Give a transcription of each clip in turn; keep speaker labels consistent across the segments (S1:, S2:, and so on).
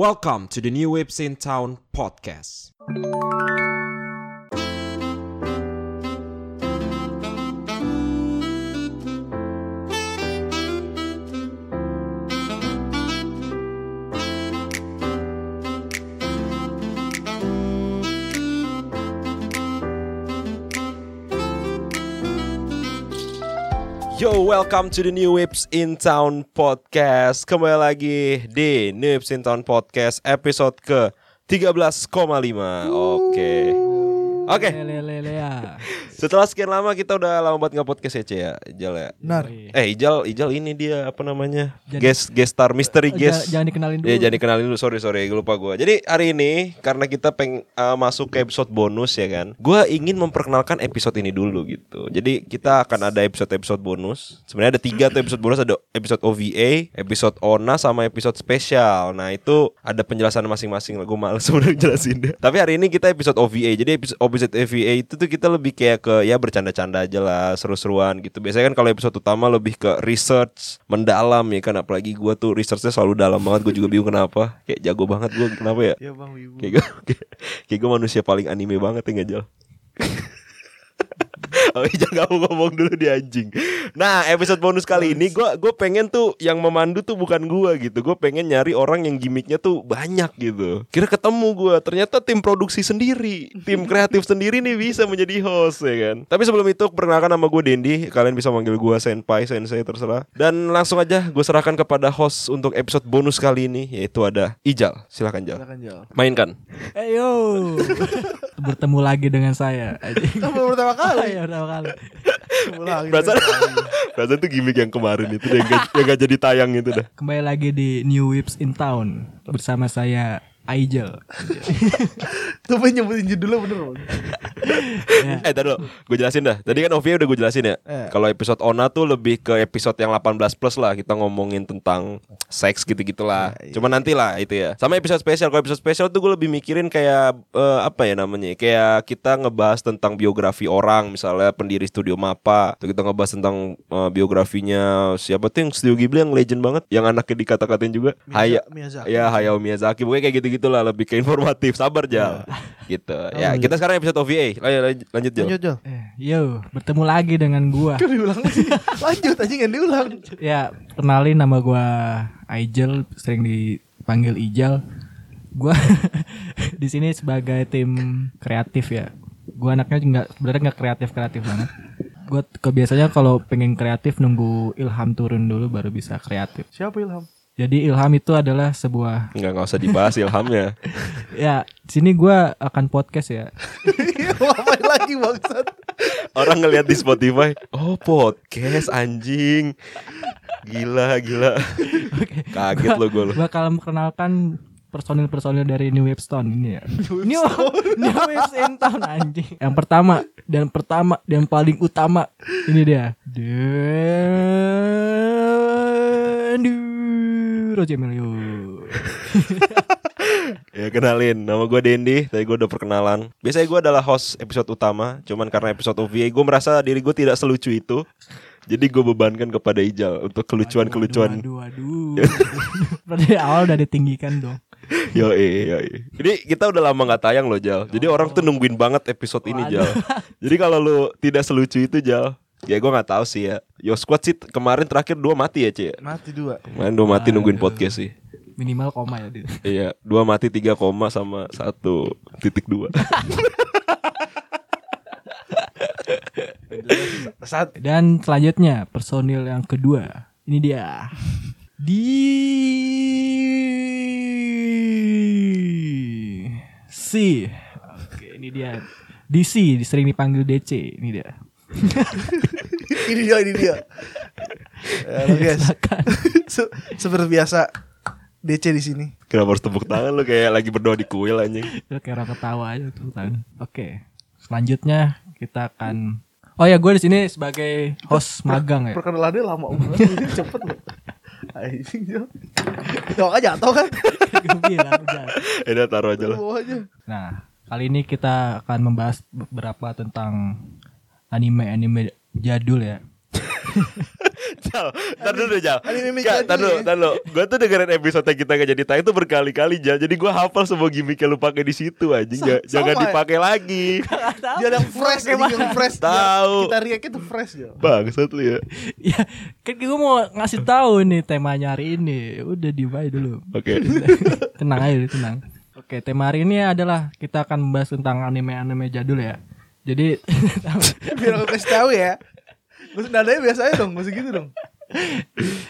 S1: Welcome to the New Waves in Town podcast. Yo, welcome to the New Waves in Town podcast. Kembali lagi di New Waves in Town podcast episode ke 13,5. Oke. Oke,
S2: Lele lele ya.
S1: setelah sekian lama kita udah lama banget nge-podcast ya, Ce, ya, Ijal ya.
S3: Benar.
S1: Eh, Ijal, Ijal ini dia apa namanya?
S2: Jadi-
S1: guest guest star mystery guest.
S2: Jangan dikenalin dulu.
S1: Ya jangan dikenalin dulu, sorry sorry, gue lupa gue. Jadi hari ini karena kita peng eh, masuk ke episode bonus ya kan, gue ingin memperkenalkan episode ini dulu gitu. Jadi kita akan ada episode episode bonus. Sebenarnya ada tiga tuh episode bonus, ada episode OVA, episode ONA, sama episode spesial. Nah itu ada penjelasan masing-masing lah. Gue males sebenarnya jelasin deh. Tapi hari ini kita episode OVA. Jadi episode, episode OVA itu tuh kita lebih kayak ke ya bercanda-canda aja lah, seru-seruan gitu. Biasanya kan kalau episode utama lebih ke research mendalam ya kan. Apalagi gue tuh researchnya selalu dalam banget. Gue juga bingung kenapa. Kayak jago banget gue kenapa ya?
S3: Ya Bang Wibu.
S1: Kayak gue kayak gue manusia paling anime banget ya nggak Jal? Oh iya jangan mau ngomong dulu di anjing Nah episode bonus kali ini Gue gua pengen tuh yang memandu tuh bukan gua gitu Gue pengen nyari orang yang gimmicknya tuh banyak gitu Kira ketemu gua Ternyata tim produksi sendiri Tim kreatif sendiri nih bisa menjadi host ya kan Tapi sebelum itu perkenalkan nama gue Dendi Kalian bisa manggil gua Senpai, Sensei terserah Dan langsung aja gue serahkan kepada host untuk episode bonus kali ini Yaitu ada Ijal Silahkan Jal
S3: Silakan Jal.
S1: Mainkan
S2: Eh yo. Bertemu lagi dengan saya.
S3: Baru pertama kali.
S2: ya pertama kali.
S3: Ulang.
S1: Berasa Berasa itu gimmick yang kemarin itu deh, Yang gak, yang gak jadi tayang itu dah
S2: Kembali lagi di New Whips in Town bersama saya Aijel.
S3: Tuh pengen nyebutin judulnya bener Bang.
S1: Eh tadi Gue jelasin dah Tadi kan OVA udah gue jelasin ya
S3: Eh.
S1: Kalau episode ONA tuh lebih ke episode yang 18 plus lah Kita ngomongin tentang Seks gitu-gitulah
S3: Eh, iya.
S1: Cuma nanti lah itu ya Sama episode spesial Kalau episode spesial tuh gue lebih mikirin kayak eh, Apa ya namanya Kayak kita ngebahas tentang biografi orang Misalnya pendiri studio MAPA Terus Kita ngebahas tentang eh, biografinya Siapa tuh yang studio Ghibli yang legend banget Yang anaknya dikata-katain juga Haya
S3: Miyazaki.
S1: Ya Hayao Miyazaki Pokoknya kayak gitu-gitu lah Lebih ke informatif Sabar Jal Gitu Ya kita sekarang episode OVA Lan- lan- Lanjut Jal
S3: Lanjut Jal.
S2: Eh, yo, bertemu lagi dengan gua.
S3: Kan diulang lagi. Lanjut anjing yang diulang.
S2: Ya, kenalin nama gua Aijel, sering dipanggil Ijal. Gua di sini sebagai tim kreatif ya. Gua anaknya nggak sebenarnya nggak kreatif-kreatif banget. Gua t- ke- biasanya kalau pengen kreatif nunggu ilham turun dulu baru bisa kreatif.
S3: Siapa Ilham?
S2: Jadi ilham itu adalah sebuah
S1: Enggak nggak usah dibahas ilhamnya
S2: ya, di sini gua akan podcast ya.
S3: Ngapain lagi bangsat?
S1: Orang ngelihat di Spotify Oh podcast anjing Gila gila
S2: Oke.
S1: Kaget lo gue lo
S2: Gua akan memperkenalkan personil-personil dari New Wave Stone ini ya. New, New Wave in Town anjing. Yang pertama dan pertama dan paling utama ini dia. Dendi Roger Emilio.
S1: Ya kenalin Nama gue Dendi Tadi gue udah perkenalan Biasanya gue adalah host episode utama Cuman karena episode OVA Gue merasa diri gue tidak selucu itu Jadi gue bebankan kepada Ijal Untuk kelucuan-kelucuan
S2: Aduh, aduh. Berarti awal udah ditinggikan dong.
S1: Yo yoi. Jadi kita udah lama nggak tayang loh Jal. Jadi orang tuh nungguin banget episode ini Jal. Jadi kalau lu tidak selucu itu Jal, ya gue nggak tahu sih ya. Yo squad sih kemarin terakhir dua mati ya Cie.
S3: Mati dua.
S1: Kemarin dua mati nungguin podcast sih.
S2: Minimal koma ya. Din.
S1: Iya, dua mati tiga koma sama satu titik dua.
S3: Saat
S2: Dan selanjutnya personil yang kedua. Ini dia. Di C. Oke, ini dia. DC, sering dipanggil DC. Ini dia.
S3: ini dia ini dia. Ya, lo guys.
S2: Silakan.
S3: Se- Seperti biasa DC di sini.
S1: Kenapa harus tepuk tangan lu kayak lagi berdoa di kuil anjing.
S2: Itu kayak orang ketawa aja tuh tangan. Oke. Selanjutnya kita akan Oh ya, gue di sini sebagai host magang ya.
S3: Perkenalannya lama banget. Ini cepet loh. Anjing Jal. Jawab aja atau kan?
S2: Gua bilang, udah.
S1: Eh udah, taruh aja lah.
S3: Bawahnya.
S2: Nah, kali ini kita akan membahas beberapa tentang anime-anime jadul ya.
S1: Jal, tar dulu deh, Jal.
S3: Anime mimik
S1: Nggak,
S3: lagi
S1: Tar dulu,
S3: ya.
S1: tar dulu. Gue tuh dengerin episode kita gak jadi tayang tuh berkali-kali, Jal. Jadi gue hafal semua gimmick yang lu pakai di situ, anjing.
S3: Sa-
S1: Nggak- Jangan
S3: sama ya?
S1: dipakai lagi.
S3: Dia ada fresh ini yang fresh. Dia-
S1: Tahu.
S3: Kita react itu fresh ya.
S1: Bangsat lu ya.
S2: ya kan gue mau ngasih tahu nih temanya hari ini udah diubah dulu
S1: Oke.
S2: tenang aja tenang oke tema hari ini adalah kita akan membahas tentang anime anime jadul ya jadi
S3: Biar aku kasih tahu ya. Terus nadanya biasa aja dong, masih gitu dong.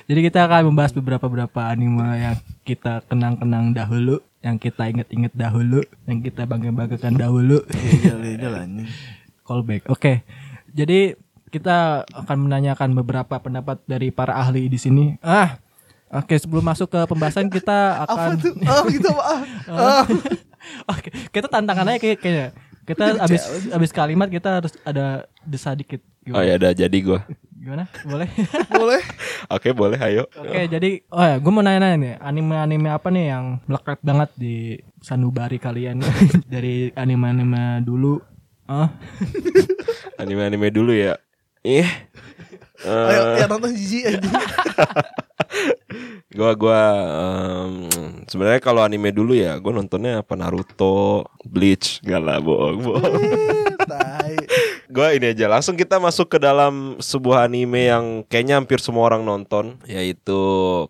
S2: jadi kita akan membahas beberapa beberapa anime yang kita kenang-kenang dahulu yang kita inget-inget dahulu yang kita bangga-banggakan dahulu
S3: Iya, iya lah ini.
S2: callback oke jadi kita akan menanyakan beberapa pendapat dari para ahli di sini ah oke sebelum masuk ke pembahasan kita
S3: Apa
S2: akan
S3: tuh? Ah, gitu apa? Ah, ah.
S2: Oke, kita tantangan aja kayak- kayaknya. Kita abis abis kalimat kita harus ada desa dikit.
S1: Oh
S2: Gimana?
S1: ya udah jadi gue.
S2: Gimana? Boleh?
S3: Boleh.
S1: Oke boleh, ayo.
S2: Oke, jadi oh ya, gue mau nanya-nanya nih, anime-anime apa nih yang melekat banget di sanubari kalian dari anime-anime dulu? Ah,
S1: Anime-anime dulu ya. Ih. Eh,
S3: Ayo, ya nonton jijik aja.
S1: gua gua em, sebenarnya kalau anime dulu ya gua nontonnya apa Naruto, Bleach, gak lah bohong, bohong.
S3: Eh, Tai.
S1: Gua ini aja langsung kita masuk ke dalam sebuah anime yang kayaknya hampir semua orang nonton yaitu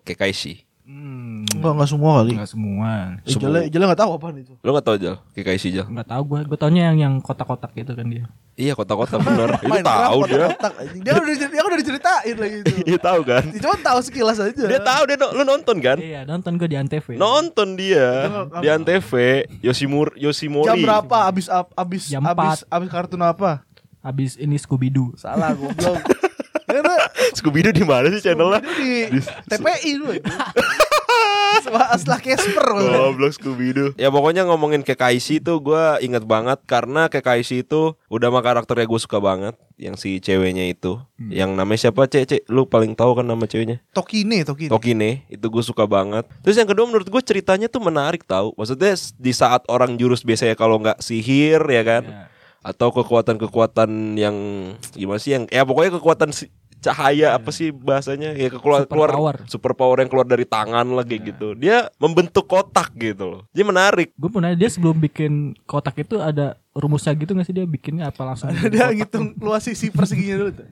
S1: Kekaishi.
S2: hmm,
S3: Enggak enggak semua kali.
S2: nggak semua.
S3: Eh, Jale, Jale enggak tahu apaan itu.
S1: Lu gak tau Jal? Kekaishi Jal?
S2: Nggak tahu gue, gue taunya yang yang kotak-kotak gitu kan dia.
S1: Iya kota-kota bener Itu
S3: Minecraft,
S1: tahu dia
S3: kotak-kotak, anjing. Dia udah dicer- dia udah diceritain lagi itu.
S1: Iya tahu kan
S3: Dia Cuma tahu sekilas aja.
S1: Dia tahu dia no- lu nonton kan?
S2: Iya, nonton gue di Antv.
S1: Nonton dia
S3: Itu-
S1: di Antv Yoshimur Yoshimori
S3: Jam berapa abis ab- abis
S2: Jam
S3: abis abis kartun apa?
S2: Abis ini Scooby Doo.
S3: Salah goblok. Karena
S1: Scooby Doo di mana sih channelnya?
S3: di TPI dulu. Setelah setelah Casper.
S1: Goblok Scooby Doo. Ya pokoknya ngomongin Kekaisi itu gua inget banget karena Kekaisi itu udah mah karakternya gue suka banget yang si ceweknya itu. Yang namanya siapa, Cek? Cek, lu paling tahu kan nama ceweknya?
S3: Tokine, Tokine.
S2: Gitu.
S1: Tokine, itu gue suka banget. Terus yang kedua menurut gue ceritanya tuh menarik tahu. Maksudnya s- di saat orang jurus biasanya kalau nggak sihir ya kan
S2: Iya.
S1: atau kekuatan-kekuatan yang gimana sih yang ya pokoknya kekuatan si- cahaya apa sih bahasanya ya keluar
S2: Iya. Superpower. Iya.
S1: keluar superpower yang keluar dari tangan lagi gitu. Dia membentuk kotak gitu loh. Dia menarik.
S2: Gue mau nanya dia sebelum bikin kotak itu ada rumusnya gitu gak sih dia bikinnya apa langsung? bikin
S3: Dia
S2: kotak?
S3: ngitung luas sisi perseginya dulu tuh.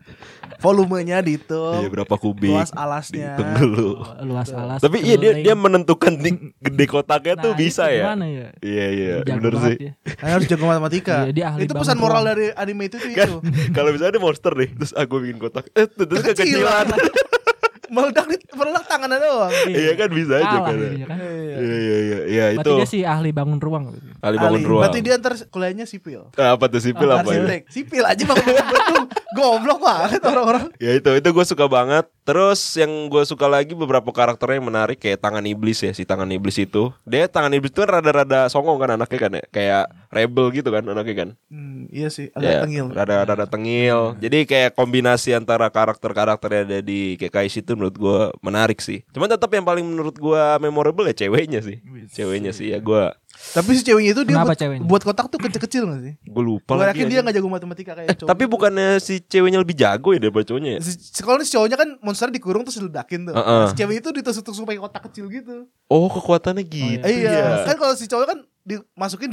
S3: Volumenya dihitung.
S1: Iya berapa kubik?
S3: Luas alasnya.
S1: dihitung dulu.
S2: Oh, luas alas.
S1: Tapi iya dia
S2: keling.
S1: dia menentukan di- gede kotaknya
S2: Nah,
S1: tuh
S2: itu
S1: bisa ya.
S2: gimana ya?
S1: Iya iya
S2: Jago
S1: bener
S2: banget
S1: sih.
S2: dia.
S3: Karena harus jago matematika.
S2: Iya, dia ahli
S3: itu pesan
S2: banget.
S3: moral dari anime itu tuh itu.
S1: Kan kalau misalnya ada monster nih terus aku bikin kotak eh terus
S3: Kekecilan.
S1: kekecilan.
S3: meledak di meledak tangannya doang.
S1: Iya kan bisa aja
S2: Kalah
S1: kan.
S2: dia kan.
S1: Iya iya iya iya
S2: Berarti
S1: itu.
S2: dia sih ahli bangun ruang.
S1: Ali bangun
S3: Ahli.
S1: ruang.
S3: Berarti dia ntar kuliahnya sipil.
S1: Ah, apa tuh sipil apa ya?
S3: Arsitek. Sipil aja bangun gedung. Goblok banget orang-orang.
S1: Ya itu itu gue suka banget. Terus yang gue suka lagi beberapa karakternya yang menarik kayak tangan iblis ya si tangan iblis itu. Dia tangan iblis itu kan rada-rada songong kan anaknya kan ya? kayak rebel gitu kan anaknya kan.
S3: Hmm, iya sih, agak
S1: Ya,
S3: tengil.
S1: Rada rada tengil. Jadi kayak kombinasi antara karakter-karakter yang ada di KKS itu menurut gua menarik sih. Cuman tetap yang paling menurut gua memorable ya ceweknya sih. Ceweknya sih ya gua
S3: Tapi si ceweknya itu dia
S2: Kenapa
S3: buat,
S2: ceweknya?
S3: buat kotak tuh kecil-kecil gak sih?
S1: gua lupa
S3: Gue
S1: lagi.
S3: yakin dia
S1: anjing.
S3: gak jago matematika kayak cowok.
S1: Eh, Tapi bukannya si ceweknya lebih jago ya daripada cowoknya ya?
S3: Si, si- kalau si cowoknya kan monster dikurung terus diledakin tuh.
S1: Heeh.
S3: Si cewek itu ditusuk-tusuk pakai kotak kecil gitu.
S1: Oh, kekuatannya gitu.
S3: Eh,
S1: ya.
S3: iya. Kan kalau si cowok kan dimasukin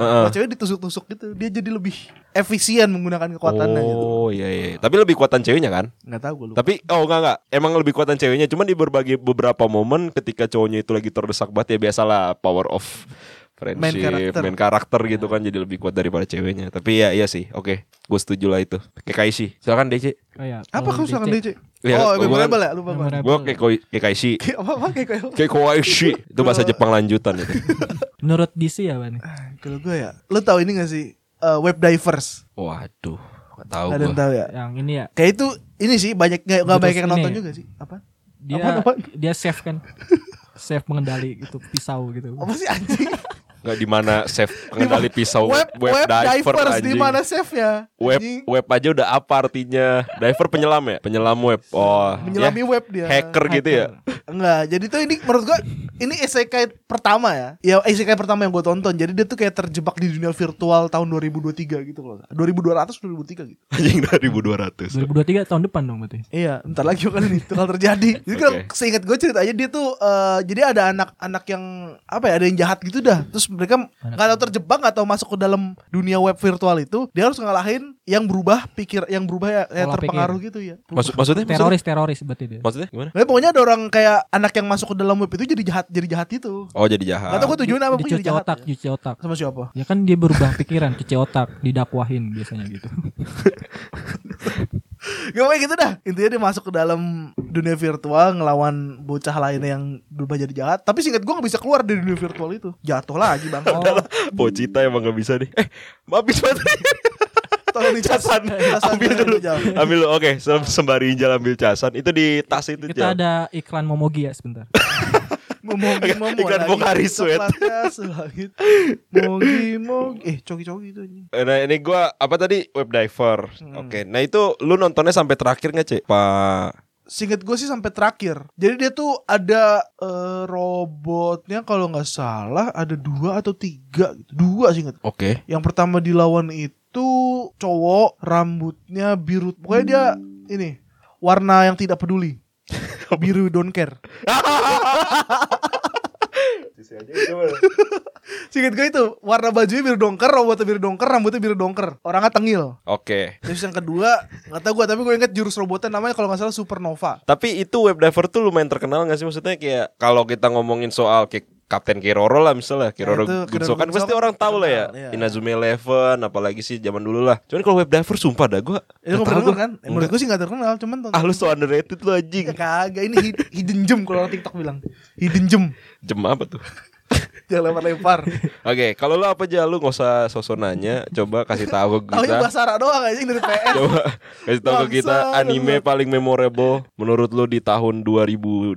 S1: Heeh.
S3: Kalau cewek ditusuk-tusuk gitu, dia jadi lebih efisien menggunakan kekuatannya gitu.
S1: Oh iya iya. Tapi lebih kuatan ceweknya kan?
S3: Enggak tahu gue lupa.
S1: Tapi oh enggak enggak, emang lebih kuatan ceweknya. Cuman di berbagai beberapa momen ketika cowoknya itu lagi terdesak banget ya biasalah power of friendship,
S3: Main
S1: main
S3: karakter. Iya.
S1: karakter, gitu kan jadi lebih kuat daripada ceweknya. Tapi ya iya sih, oke, gue setuju lah itu. Kekaisi, silakan DC.
S2: Oh, ya,
S3: Apa
S2: kalau
S3: kau serangan
S2: DC,
S3: DC?
S1: Iya,
S3: oh,
S1: gua
S3: memorable
S1: kan-
S3: ya, lupa gue.
S2: memorable.
S1: Gue kekaisi,
S3: Apa-apa kayak kayak
S1: kekaisi itu bahasa Jepang lanjutan itu.
S2: Menurut DC ya Bani?
S3: Ah, Kalau gue ya, lu tahu ini gak sih? Eh, web divers.
S1: Waduh, nggak tahu
S3: Ada yang
S1: gue.
S3: tahu ya?
S2: Yang ini ya
S3: Kayak itu ini sih banyak nggak nggak
S2: Beatles
S3: banyak yang
S2: ini
S3: nonton
S2: ya?
S3: juga sih. Apa?
S2: dia
S3: Apaan, apaan?
S2: dia chef kan. chef mengendali gitu pisau gitu.
S3: Apa sih anjing?
S1: Enggak di mana save pengendali pisau
S3: web, web, diver divers di
S1: anjing.
S3: mana save-nya?
S1: Web
S3: Anjing,
S1: web aja udah apa artinya? Diver penyelam ya? Penyelam web. Oh,
S3: menyelami
S1: ya.
S3: web dia.
S1: Hacker gitu ya.
S3: Enggak, jadi tuh ini menurut gua ini isekai pertama ya. Ya isekai pertama yang gua tonton. Jadi dia tuh kayak terjebak di dunia virtual tahun 2023 gitu loh. 2200 2003 gitu.
S1: Anjing 2200.
S2: 2023 tahun depan dong berarti.
S3: Iya, bentar lagi kan ini bakal terjadi. Jadi kalau
S1: Oke.
S3: seingat gue ceritanya dia tuh eh, jadi ada anak-anak yang apa ya, ada yang jahat gitu dah. Terus mereka nggak tahu terjebak atau masuk ke dalam dunia web virtual itu, dia harus ngalahin yang berubah pikir, yang berubah ya, ya
S2: Pola
S3: terpengaruh gitu ya.
S1: Maksud maksudnya maksudnya-
S2: Teroris teroris berarti dia.
S1: Maksudnya gimana?
S3: Nah, pokoknya ada orang kayak anak yang masuk ke dalam web itu jadi jahat, jadi jahat itu.
S1: Oh, jadi
S3: Gak
S1: jahat.
S3: tau gue tujuannya apa pokoknya
S2: Ah, Dicuci
S3: jadi jahat. ya?
S2: otak, cuci otak.
S3: Sama siapa?
S2: Ya kan dia berubah pikiran, cuci otak, didakwahin biasanya gitu.
S3: Gak kayak gitu dah Intinya dia masuk ke dalam dunia virtual Ngelawan bocah lainnya yang berubah jadi jahat Tapi singkat gue gak bisa keluar dari dunia virtual itu Jatuh lagi bang
S2: Oh,
S1: Bocita emang gak bisa nih. Eh, habis baterai.
S3: Oh, Tolong dicas
S1: Casan.
S3: Casan
S1: Ambil dulu.
S3: Jal.
S1: Ambil dulu. Oke, sem- sembari jalan ambil casan. Itu di tas itu,
S2: kita
S1: Jal.
S2: ada iklan Momogi ya sebentar.
S3: Memongi momo
S1: Iklan
S3: lagi.
S1: Pocari Sweat.
S3: Coklat selangit. Mogi mogi Eh coki-coki itu anjing.
S1: Eh, Nah ini gua apa tadi web diver. Oke, nah itu lu nontonnya sampai terakhir nggak cek pak?
S3: Singkat gue sih sampai terakhir. Jadi dia tuh ada eh, robotnya kalau nggak salah ada dua atau tiga gitu. Dua singkat.
S1: Oke.
S3: Yang pertama dilawan itu cowok rambutnya biru. Pokoknya dia ini warna yang tidak peduli. biru don't care. Singkat gue itu warna bajunya biru dongker, robotnya biru dongker, rambutnya biru dongker. Orangnya tengil.
S1: Oke.
S3: Terus yang kedua nggak tahu gue tapi gue inget jurus robotnya namanya kalau nggak salah Supernova.
S1: Tapi itu web diver tuh lumayan terkenal nggak sih maksudnya kayak kalau kita ngomongin soal kayak Kapten Kiroro lah misalnya Kiroro
S3: Nah, itu,
S1: Gunso
S3: Kiroro
S1: kan pasti
S3: Gunso
S1: orang tahu lah ya
S3: terkenal, iya.
S1: Inazumi Eleven apalagi sih zaman dulu lah Cuman kalau web diver sumpah dah gua
S3: Itu
S1: nggak tahu
S3: nggak terkenal
S1: gua.
S3: kan? Eh, Menurut gue sih nggak terkenal, cuman tonton.
S1: Ah lu so underrated lu anjing
S3: Ya, kagak ini hid- hidden gem kalau orang TikTok bilang. Hidden gem.
S1: Jem apa tuh
S3: Jangan lempar-lempar.
S1: Oke kalau lu apa aja lu nggak usah sosok nanya Coba kasih tahu ke
S3: Tahu
S1: kita
S3: yang Basara doang anjing dari PS.
S1: Coba kasih tahu ke kita
S3: Bangsa,
S1: anime
S3: bener.
S1: paling memorable menurut lu di tahun 2002.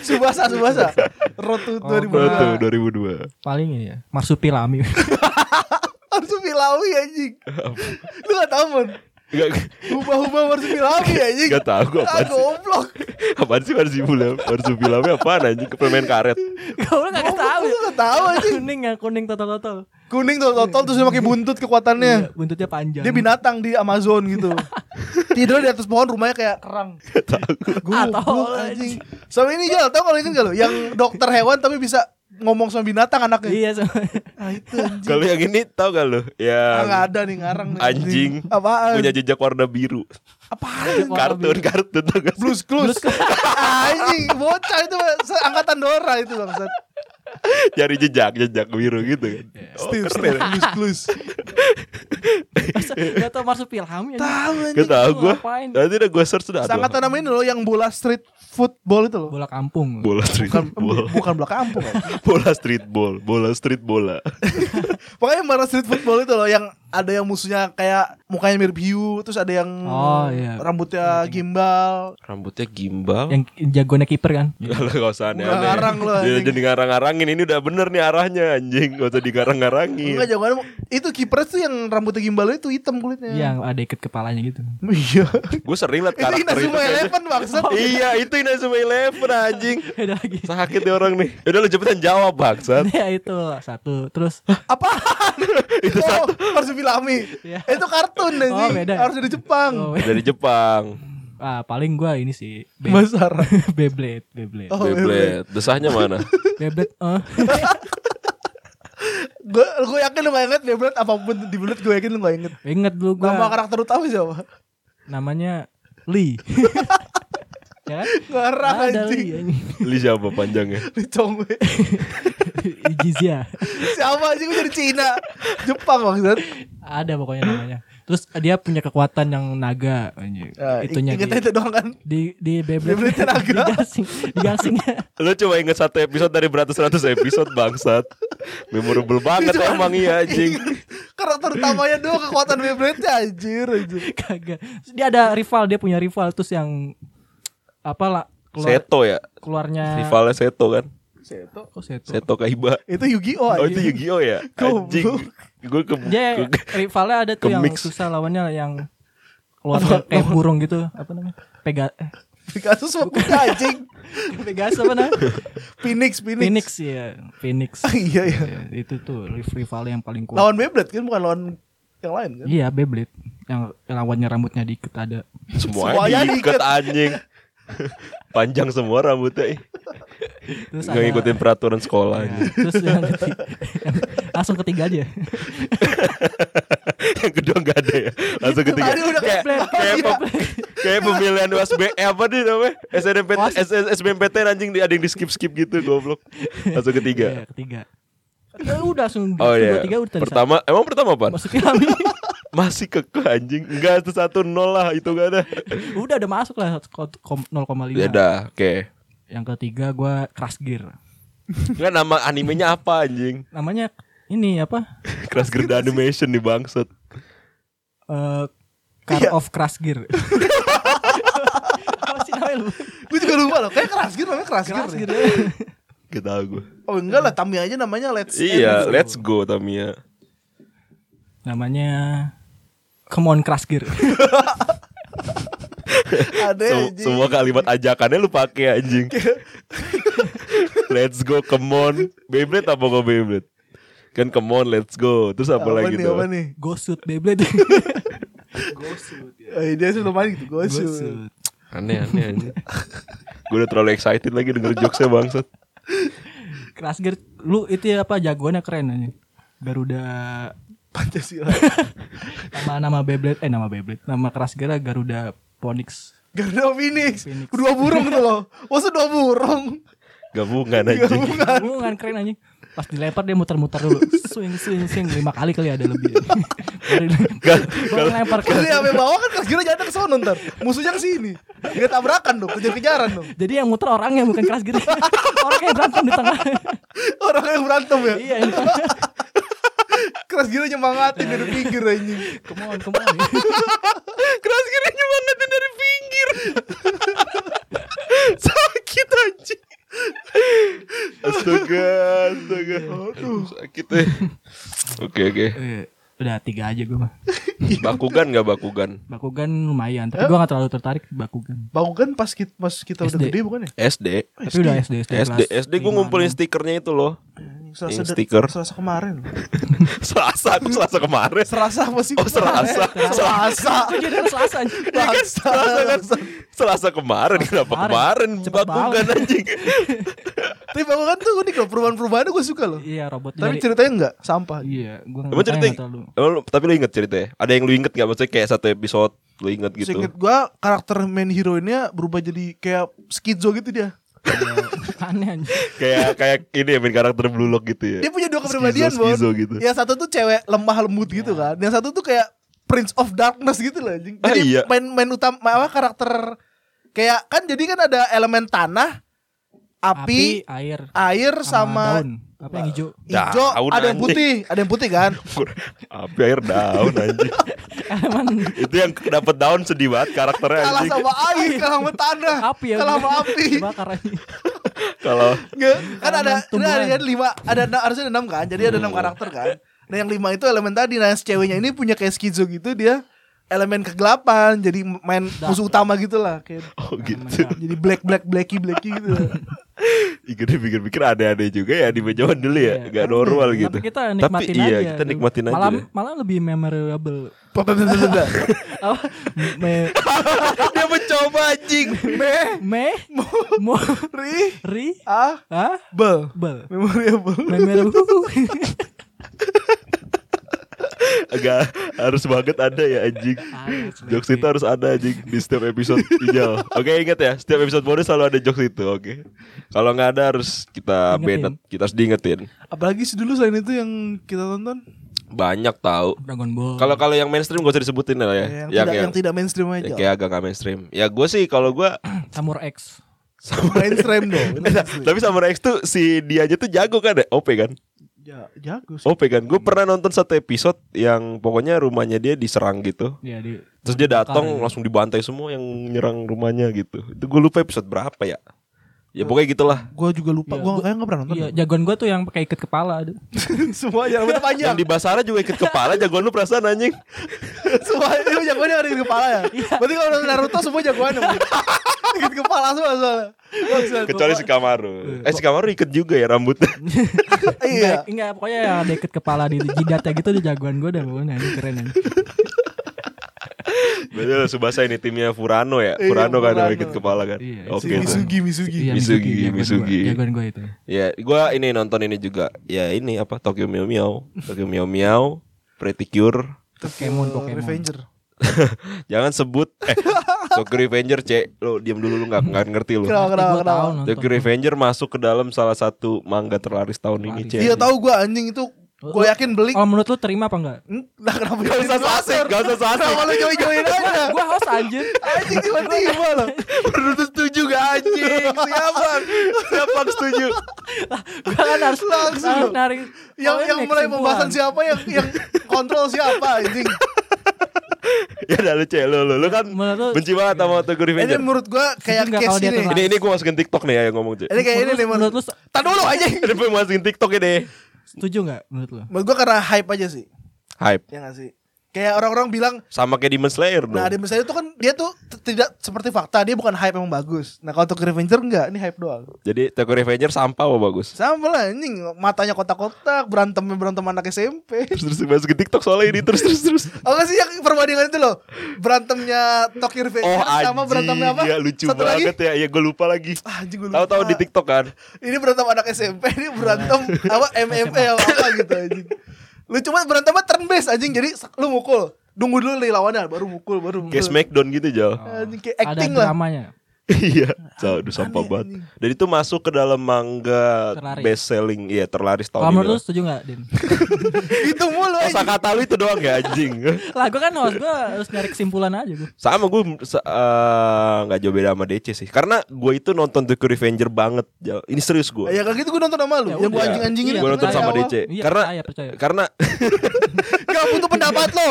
S3: Subasa Subasa. Road to
S2: Oh,
S1: Betul,
S3: 2000.
S1: 2002.
S2: Paling ini ya, Marsupilami.
S3: Marsupilawi anjing.
S1: Ya
S3: Lu gak tahu mon.
S1: Enggak
S3: Hubah-hubah Marsupilawi anjing.
S1: enggak tahu gua
S3: Ah
S1: apaan sih.
S3: goblok.
S1: Apaan sih Marsupilami? Marsupilami apaan anjing? Permen karet.
S2: Kau orang nggak tahu. ya?
S3: Lu gak tahu anjing.
S2: Kuning ya, kuning total-total.
S3: Kuning tuh totol terus dia pakai buntut
S2: Iya,
S3: kekuatannya.
S2: buntutnya panjang.
S3: Dia binatang di Amazon gitu. Tidur di atas pohon rumahnya kayak kerang.
S2: Atau
S3: Goblok anjing. Sama ini Jal, tau kalau inget gak lo? Yang dokter hewan tapi bisa ngomong sama binatang anaknya.
S2: Iya, sama.
S3: Ah itu anjing.
S1: Kalau yang ini tahu gak lu?
S3: Ah, nggak
S1: Yang
S3: ada nih ngarang nih.
S1: anjing
S3: Apaan?
S1: punya jejak warna biru.
S3: Apaan?
S1: Kartun-kartun tau gak sih?
S3: Blues Clues. anjing, bocah itu se- angkatan Dora itu bangsat.
S1: Cari jejak, jejak biru gitu kan. Oh,
S3: Iya. Steve,
S1: keren.
S3: Steve, Blues Clues.
S2: Masa Gak tau Marsupilami anjing.
S3: Tahu
S1: Gak
S3: anjing.
S1: tau gue
S2: Ngapain?
S1: Nanti udah gue search udah
S3: Sangat
S1: aduh.
S3: nama ini loh yang bola street football itu loh.
S2: Bola kampung.
S1: Bola
S3: Bukan eh,
S1: streetball
S3: bukan bola kampung. kan.
S1: Bola streetball Bola street bola
S3: Pokoknya bola street football itu loh yang ada yang musuhnya kayak mukanya mirip hiu, terus ada yang
S2: Oh, iya.
S3: rambutnya gimbal.
S1: Rambutnya gimbal
S2: Yang jagoannya kiper kan.
S1: Kalau gak usah aneh-aneh
S3: Udah ngarang Ya. lu,
S1: Dia
S3: anjing.
S1: jadi ngarang-ngarangin Ini udah bener nih arahnya anjing Gak usah digarang-ngarangin
S3: Enggak jagoan itu kiper tuh yang rambutnya gimbal itu hitam kulitnya.
S2: Yang ada ikat kepalanya gitu.
S3: Iya.
S1: Gue sering liat
S3: itu
S1: karakter itu
S3: Inazuma
S1: kayaknya.
S3: Eleven maksud.
S1: Iya itu Inazuma Eleven anjing
S2: Ada lagi.
S1: Sakit nih orang nih Udah lu cepetan jawab bangsat
S2: Ya itu satu. Terus
S3: Apaan? itu satu. harus Bilami.
S2: Iya.
S3: Itu kartun anjing.
S2: Oh, beda ya?
S3: Harus dari Jepang.
S2: oh,
S1: Dari Jepang
S2: ah, paling gua ini sih Be-
S3: Basara.
S2: Beyblade, Beyblade.
S3: Oh,
S1: Gitu, Beyblade Desahnya mana?
S2: Beyblade. eh.
S3: Gue gue yakin lu gak inget Beyblade apapun di Beyblade gue yakin lu gak inget.
S2: Ingat dulu gua
S1: Nah.
S3: Nama karakter utama siapa?
S2: namanya Lee. ya kan?
S3: Ngarang
S2: Ada
S3: anjing.
S2: Lee.
S1: Li siapa panjangnya?
S3: Di Chongwei.
S2: Ijizia.
S3: Siapa sih gue jadi Cina? Jepang maksud.
S2: Ada pokoknya namanya. Terus dia punya kekuatan yang naga anjing.
S1: Ya,
S3: Eh,
S2: Itunya
S3: ingetnya
S2: di,
S3: itu doang kan.
S2: di di Beyblade.
S3: Beyblade naga.
S2: digasing, digasingnya.
S1: Lu cuma inget satu episode dari beratus-ratus episode bangsat Memorable banget
S3: Cuman
S1: emang iya anjing
S3: inget Karakter utamanya doang kekuatan Beyblade ya, anjir anjir.
S2: Kagak. Terus Dia ada rival, dia punya rival terus yang apa lah keluar,
S1: Seto ya
S2: keluarnya
S1: Rivalnya Seto kan
S3: Seto.
S2: Kok Seto?
S1: Seto Kaiba.
S3: Itu Yu-Gi-Oh
S1: Oh
S3: anjing.
S1: itu Yu-Gi-Oh ya?
S3: Iya. Goblok.
S1: Anjing. Gue ke,
S2: Dia
S1: ke-
S2: rivalnya ada tuh yang
S1: Kemix.
S2: susah lawannya yang keluar dari- kayak burung gitu apa namanya? Pega eh,
S3: Pegasus mah kuda anjing.
S2: Pegasus apa namanya?
S3: Phoenix, Phoenix.
S2: Phoenix ya, Phoenix.
S3: iya iya.
S2: Ya, itu tuh riv- rival yang paling kuat.
S3: Lawan Beyblade kan bukan lawan yang lain kan?
S2: Iya, Beyblade yang lawannya rambutnya diikat ada.
S1: semuanya
S3: Semuanya
S1: diikat
S3: diikat.
S1: anjing. Panjang semua rambutnya. ih.
S2: Terus
S1: Nggak ngikutin peraturan sekolah
S2: Ya,
S1: anjing.
S2: terus yang ketiga, langsung ketiga aja.
S1: yang kedua nggak ada ya langsung
S3: Itu
S1: ketiga
S3: tadi udah
S1: kayak
S3: keblek.
S1: kayak
S3: Iya.
S1: pem- kayak pemilihan USB eh, apa nih namanya SNMP
S2: Was-
S1: S- SBMPT anjing di- ada yang di skip skip gitu goblok langsung
S2: Iya,
S1: ketiga
S2: ketiga. Ya udah langsung
S1: oh iya
S2: dua tiga udah tersisa.
S1: pertama emang pertama apa
S2: Maksudnya kami
S1: masih kekeh anjing enggak itu satu nol lah itu gak ada
S2: udah udah masuk lah ko- kom- 0,5.
S1: ya dah oke
S2: Yang ketiga gua Crash Gear.
S1: nggak nama animenya apa anjing
S2: Namanya ini apa?
S1: Crash Gear Animation nih bangsat
S2: Eh Car
S3: Iya.
S2: of Crash Gear. Apa sih namanya lu?
S3: Gue juga lupa loh. Kayak keras gitu namanya keras
S2: Crash Gear.
S3: gitu.
S2: ya.
S1: gak tau gue
S3: Oh enggak lah, Tamiya aja namanya Let's
S1: iya
S3: End.
S1: let's go Tamiya
S2: Namanya Come on Crash Gear.
S3: Ada
S1: Sem-
S3: anjing.
S1: semua kalimat ajakannya lu pakai anjing. let's go, come on. Beyblade apa kok Beyblade? Kan come on, let's go. Terus apa, lagi
S3: nih,
S1: tuh?
S3: Apa nih?
S2: Go shoot Beyblade. Go shoot.
S1: Iya.
S3: Eh, dia sih lumayan gitu. Gue
S2: Go shoot.
S1: Aneh-aneh anjing. Gue udah terlalu excited lagi denger jokesnya bangsat.
S2: Crash Gear lu itu ya apa jagoannya keren aja. Garuda
S3: Pancasila.
S2: nama nama Beyblade eh nama Beyblade nama Crash Gear Garuda Phoenix.
S3: Garuda Phoenix.
S2: Phoenix.
S3: Dua burung tuh loh. Masa dua burung?
S1: Gabungan anjing.
S2: Hubungan kan keren aja. Pas dilempar dia muter-muter dulu. Swing swing swing lima kali kali ada lebih. Baru, baru lempar ke.
S3: Kalau yang sampai bawah kan keras gitu jangan ke sono ntar. Musuhnya ke sini. Dia tabrakan dong, kejar-kejaran dong.
S2: Jadi yang muter orangnya bukan Crash Gear. Orangnya yang berantem di tengah.
S3: Orang yang berantem ya.
S2: iya. yang-
S3: Keras gila nyemangatin dari pinggir anjing.
S2: Come on, come on.
S1: Keras gini nyemangatin dari pinggir. sakit anjing. Astaga, astaga. Aduh, sakit eh. Oke, oke.
S2: Eh, Udah tiga aja gue mah.
S1: Bakugan gak bakugan?
S2: Bakugan lumayan, tapi gue gak terlalu tertarik di Bakugan.
S3: Bang kan pas kita, pas kita udah
S2: SD.
S3: gede bukan ya?
S1: SD.
S2: Tapi udah SD SD.
S1: SD
S2: kelas
S1: SD gue
S2: lima,
S1: ngumpulin
S2: enam.
S1: stikernya itu loh.
S3: Anjing, Selasa
S1: Yang
S3: de-
S1: stiker.
S3: Selasa kemarin.
S1: Selasa, aku Selasa kemarin.
S3: Serasa apa sih?
S1: Oh, Selasa.
S3: Selasa.
S2: Kok jadi harus Selasa anjing?
S1: Iya kan? Selasa kan? Selasa kemarin kenapa
S2: kemarin.
S1: kemarin
S2: Cepet
S1: bakugan
S2: banget.
S1: anjing.
S3: Tapi Bang kan tuh unik loh, perubahan-perubahannya gue suka loh.
S2: Iya robotnya.
S3: Tapi
S2: dari-
S3: ceritanya enggak sampah.
S2: Iya, gue
S1: Emang cerita
S2: terlalu.
S1: emang lu- tapi lu inget ceritanya? Ada yang lu inget gak? Maksudnya kayak satu episode lu inget gitu.
S3: Seinget gue karakter main hero-nya berubah jadi kayak skizo gitu dia.
S2: Iya, Aneh anjing.
S1: Kayak kayak ini ya main karakter Blue Lock gitu ya.
S3: Dia punya dua kepribadian, Bon.
S1: skizo gitu.
S3: Yang satu tuh cewek lemah lembut
S2: Iya.
S3: gitu kan. Yang satu tuh kayak Prince of Darkness gitu loh. anjing.
S1: Ah,
S3: Jadi
S1: iya.
S3: main main utama apa karakter kayak kan jadi kan ada elemen tanah, api,
S2: Api, air,
S3: air sama,
S2: daun. Apa yang hijau?
S3: hijau,
S1: Daun,
S3: ada yang
S1: anjing.
S3: putih, ada yang putih kan.
S1: Api air daun anjing.
S2: Elemen
S1: Itu yang dapat daun sedih banget karakternya
S3: kalah
S1: anjing.
S3: sama air, kalah sama tanah,
S2: api ya.
S3: kalah sama api.
S2: Bakar anjing.
S1: Kalau
S3: Nggak, kan ada
S2: Elemen tumbuhan.
S3: ada kan lima ada enam- harusnya ada enam kan jadi ada
S1: Iya.
S3: enam karakter kan nah yang lima itu elemen tadi nah yang si ceweknya ini punya kayak skizo gitu dia elemen kegelapan jadi main musuh utama gitu lah kayak
S1: oh gitu.
S3: jadi black black blacky blacky gitu
S1: Ih, gede pikir-pikir ada-ada juga ya di meja dulu ya,
S2: Iya.
S1: nggak normal gitu.
S2: Tapi kita nikmatin
S1: Tapi iya,
S2: aja. gitu.
S1: kita nikmatin aja.
S2: Malam
S1: deh.
S2: malam lebih memorable. Apa? Me
S1: Dia mencoba anjing.
S2: me mo
S3: Ri
S2: ri
S3: ah
S2: ah
S3: bel
S2: bel
S3: memorable
S2: memorable.
S1: Agak harus banget ada ya anjing.
S2: Harus,
S1: Jokes itu harus ada anjing di setiap episode Ijal. Oke ingat ya, setiap episode bonus selalu ada jokes itu. Oke. Kalau nggak ada harus kita
S2: Ingetin.
S1: benet, kita harus diingetin.
S3: apalagi sih dulu selain itu yang kita tonton
S1: Banyak tahu.
S2: Dragon Ball.
S1: Kalau kalau yang mainstream gak usah disebutin lah ya.
S3: yang, tidak yang, tidak mainstream aja
S1: yang kayak agak gak mainstream. Ya gue sih kalau gue
S2: Samurai X.
S3: mainstream dong
S1: tapi Samurai X tuh si dia aja tuh jago kan, ya? OP kan.
S3: Ja- jago sih
S1: OP kan. Gue
S2: Hmm.
S1: pernah nonton satu episode yang pokoknya rumahnya dia diserang gitu.
S2: Ya di
S1: Terus dia datang
S2: Bakar, ya.
S1: langsung dibantai semua yang nyerang rumahnya gitu. Itu gue lupa episode berapa ya. Ya pokoknya gitulah.
S3: Gue juga lupa,
S2: Iya,
S3: gue
S2: gua-
S3: kayaknya nggak pernah nonton.
S2: Iya, jagoan gue tuh yang pakai ikat kepala. aduh.
S3: Semua yang rambutnya panjang.
S1: Yang di Basara juga ikut kepala jagoan lu perasaan anjing.
S3: semua itu jagoannya ada di kepala ya.
S2: Iya.
S3: Berarti kalau nonton Naruto semua jagoan dong. Dikit kepala semua soalnya. Maksud-
S1: Kecuali si Kamaru. Eh si Kamaru ikut juga ya rambutnya.
S3: Iya.
S2: Enggak, enggak, pokoknya yang ada ikat kepala di jidatnya gitu di jagoan gue dah pokoknya ini keren anjing.
S1: Betul Subasa ini timnya Furano ya.
S3: Iya,
S1: Furano kan yang
S3: Furano.
S1: ikut kepala kan.
S2: Iya,
S1: Oke.
S3: Si
S1: tuh.
S3: Misugi, Misugi.
S2: Iya,
S1: Misugi,
S2: jagoan gua,
S1: Misugi.
S2: Jagoan gue itu. Eh,
S1: Ya, gua ini nonton ini juga. Ya ini apa Tokyo Meow Meow. Tokyo Meow Meow, Pretty Cure.
S2: Pokemon, Pokemon.
S3: Eh, Revenger.
S1: Jangan sebut eh Tokyo Revenger, Cek. Lu diam dulu lu nggak nggak ngerti lu.
S3: Kenapa, kenapa,
S2: Gue
S3: kenapa?
S2: tahu nonton.
S1: Tokyo Revenger masuk ke dalam salah satu manga terlaris tahun ini,
S2: Terlaris.
S1: Cek.
S3: Iya tahu gue anjing itu.
S2: Oh,
S3: Gue yakin beli.
S2: Kalau Oh, menurut lu terima apa enggak?
S3: Nah kenapa
S1: Gak usah sasik, gak usah sasik.
S3: Kenapa lu jauh-jauhin aja?
S2: Gue host anjir.
S3: Anjing tiba-tiba loh.
S1: Menurut setuju gak anjing? Siapa? Siapa setuju?
S2: Gue kan harus
S3: Langsung.
S2: harus narik. poin
S3: Yang yang
S2: ya,
S3: mulai
S2: kesimpulan.
S3: pembahasan siapa yang yang kontrol siapa anjing.
S1: Ya udah lu cek lu, lu, lu kan
S2: Menurut lu-
S1: benci banget sama Tokyo
S3: Ini
S1: Revenger.
S3: menurut gue kayak
S2: Setuju nggak
S3: case
S2: kalau dia
S3: ini.
S2: terlalu-
S1: Ini ini gua masukin TikTok nih ya yang ngomong, Cek.
S3: Ini kayak ini
S2: Menurut
S3: nih
S2: lu-
S3: menurut.
S2: menurut lu-
S3: Tahan dulu anjing.
S1: Ini gua masukin TikTok ini.
S2: Setuju enggak menurut lu?
S3: Menurut gue karena hype aja sih.
S1: Hype.
S3: Ya gak sih? Kayak orang-orang bilang
S1: Sama kayak Demon Slayer dong.
S3: Nah, ada misalnya itu kan dia tuh t- tidak seperti fakta, dia bukan hype emang bagus. Nah, kalau Tokyo Revenger enggak, ini hype doang.
S1: Jadi Tokyo Revenger sampah apa bagus?
S3: Sama lah anjing, matanya kotak-kotak, berantem berantem anak SMP.
S1: Terus terus masukin TikTok soalnya ini terus terus terus.
S3: Oh enggak sih yang perbandingan itu loh. Berantemnya Tokyo Revenger
S1: Oh
S3: sama
S1: anjing,
S3: berantemnya apa?
S1: ya lucu
S3: Satu
S1: banget
S3: lagi.
S1: ya. Ya gue lupa lagi.
S3: Ah, anjing gue lupa.
S1: Tahu-tahu di TikTok kan.
S3: Ini berantem anak SMP, ini berantem apa MMA apa, apa gitu anjing. Lu cuma berantemnya turn based anjing, jadi lu mukul. Tunggu dulu nih lawannya baru mukul, baru mukul.
S1: Kayak Smackdown gitu
S2: Oh.
S1: Jal
S3: Anjing kayak
S2: Ada
S3: acting lah.
S2: dramanya.
S1: Iya Jal, Aduh sampah
S3: aneh,
S1: banget
S3: anjing.
S1: Dan itu masuk ke dalam manga
S2: Terlaris.
S1: Best selling Iya terlaris tahun
S2: Kalau menurut lu
S1: ini lah.
S2: setuju enggak, Din?
S3: Itu mulu
S1: Kosa
S3: anjing.
S1: kata lu itu doang ya anjing
S2: Lah gue kan host gue harus nyari kesimpulan aja gue.
S1: Sama gue se- eh, nggak jauh beda sama DC sih Karena gue itu nonton The Revenger banget Jal. Ini serius gue
S3: Ya kayak gitu gue nonton sama lu,
S2: Ya
S3: yang gue
S2: udah.
S3: anjing-anjingin
S2: Iya,
S1: Gue nonton
S3: dari
S1: sama
S3: awal.
S1: DC
S2: Iya,
S1: Karena
S2: percaya, percaya.
S1: Karena
S3: Gak butuh pendapat lo.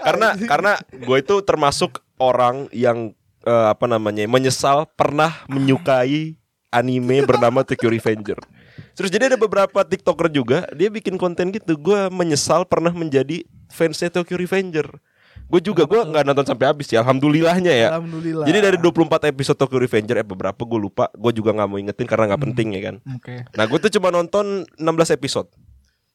S1: karena karena gue itu termasuk orang yang eh, apa namanya menyesal pernah menyukai anime bernama Tokyo Revenger. Terus jadi ada beberapa TikToker juga dia bikin konten gitu. Gue menyesal pernah menjadi fansnya Tokyo Revenger. Gue juga gue nggak nonton sampai habis ya. Alhamdulillahnya ya.
S3: Alhamdulillah.
S1: Jadi dari 24 episode Tokyo Revenger eh beberapa gue lupa. Gue juga nggak mau ingetin karena
S3: Hmm.
S1: nggak penting ya kan.
S2: Oke.
S1: Nah gue tuh cuma nonton 16 episode.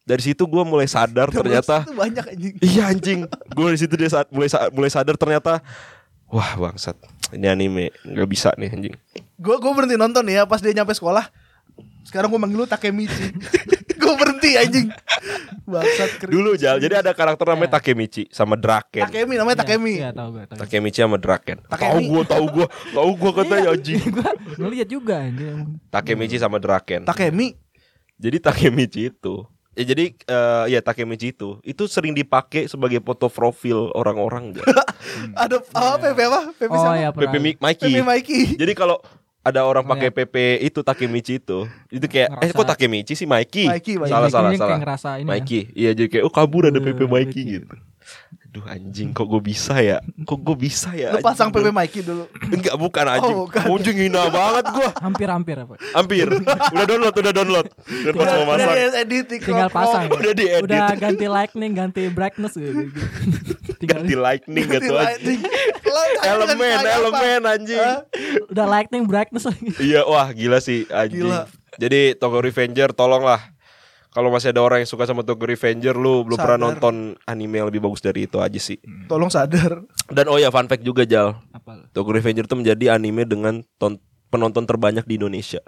S1: Dari situ gue mulai sadar ternyata
S3: itu banyak anjing.
S1: Iya anjing. Gue di situ dia saat mulai sa- mulai sadar ternyata wah bangsat. Ini anime nggak bisa nih anjing.
S3: Gue gue berhenti nonton ya pas dia nyampe sekolah. Sekarang gue manggil lu Takemichi. gue berhenti anjing. Bangsat keren. Iya.
S1: Dulu Jal, jadi ada karakter namanya Takemichi sama Draken.
S3: Takemi namanya Takemi.
S2: Iya, tahu gue, tahu.
S1: Takemichi sama Draken. Tahu
S3: Takemi. Iya.
S1: gua, tahu gua, tahu gua katanya anjing.
S2: gue ngeliat juga anjir.
S1: Takemichi sama Draken.
S3: Takemi.
S1: Jadi Takemichi itu Ya jadi eh, ya Takemichi itu itu sering dipakai sebagai foto profil orang-orang Jal. Hmm.
S3: Ada apa
S1: Iya.
S3: PP apa? PP
S2: Oh
S3: siapa?
S2: ya, pernah.
S1: Pepe Mi- Mikey.
S3: PP Mikey.
S1: Jadi kalau ada orang
S3: ya?
S1: pakai PP itu Takemichi itu, itu kayak eh
S2: Ngerasa-
S1: kok Takemichi sih Mikey.
S3: Mikey, Mikey.
S1: Salah
S2: Mikey
S1: salah
S2: ini kayak
S1: salah.
S2: ngerasa
S3: ya.
S2: ini
S1: Mikey. Iya jadi kayak oh kabur ada
S2: Eh,
S1: PP Mikey
S2: Mikey.
S1: gitu. Aduh anjing kok gue bisa ya? Kok gue bisa ya?
S3: Lu pasang PP
S1: anjing?
S3: Mikey dulu.
S1: Enggak bukan anjing.
S3: Oh, bukan.
S1: Anjing hina banget gua.
S2: Hampir-hampir apa?
S1: Hampir. Udah download, udah download. Dan pas mau
S3: Udah
S1: masak.
S3: edit, di
S2: Tinggal
S3: crop,
S2: pasang.
S1: Udah diedit.
S2: Udah ganti lightning, ganti brightness gitu. Tinggal
S1: Ganti lightning
S3: crop,
S1: gitu anjing.
S3: lighting. Lah, anjing
S1: Elemen,
S3: kan kayak apa?
S1: elemen anjing.
S3: Hah?
S2: udah lightning brightness lagi.
S1: Iya, wah gila sih anjing.
S3: Gila.
S1: Jadi Tokyo Revenger tolonglah. Kalau masih ada orang yang suka sama Tokyo Revenger lu belum pernah
S3: Sadar. Hmm.
S1: nonton anime yang lebih bagus dari itu aja sih.
S3: Tolong sadar.
S1: Dan oh ya fun fact juga Jal.
S2: Apa?
S1: Tokyo Revenger itu menjadi anime dengan ton- penonton terbanyak di Indonesia.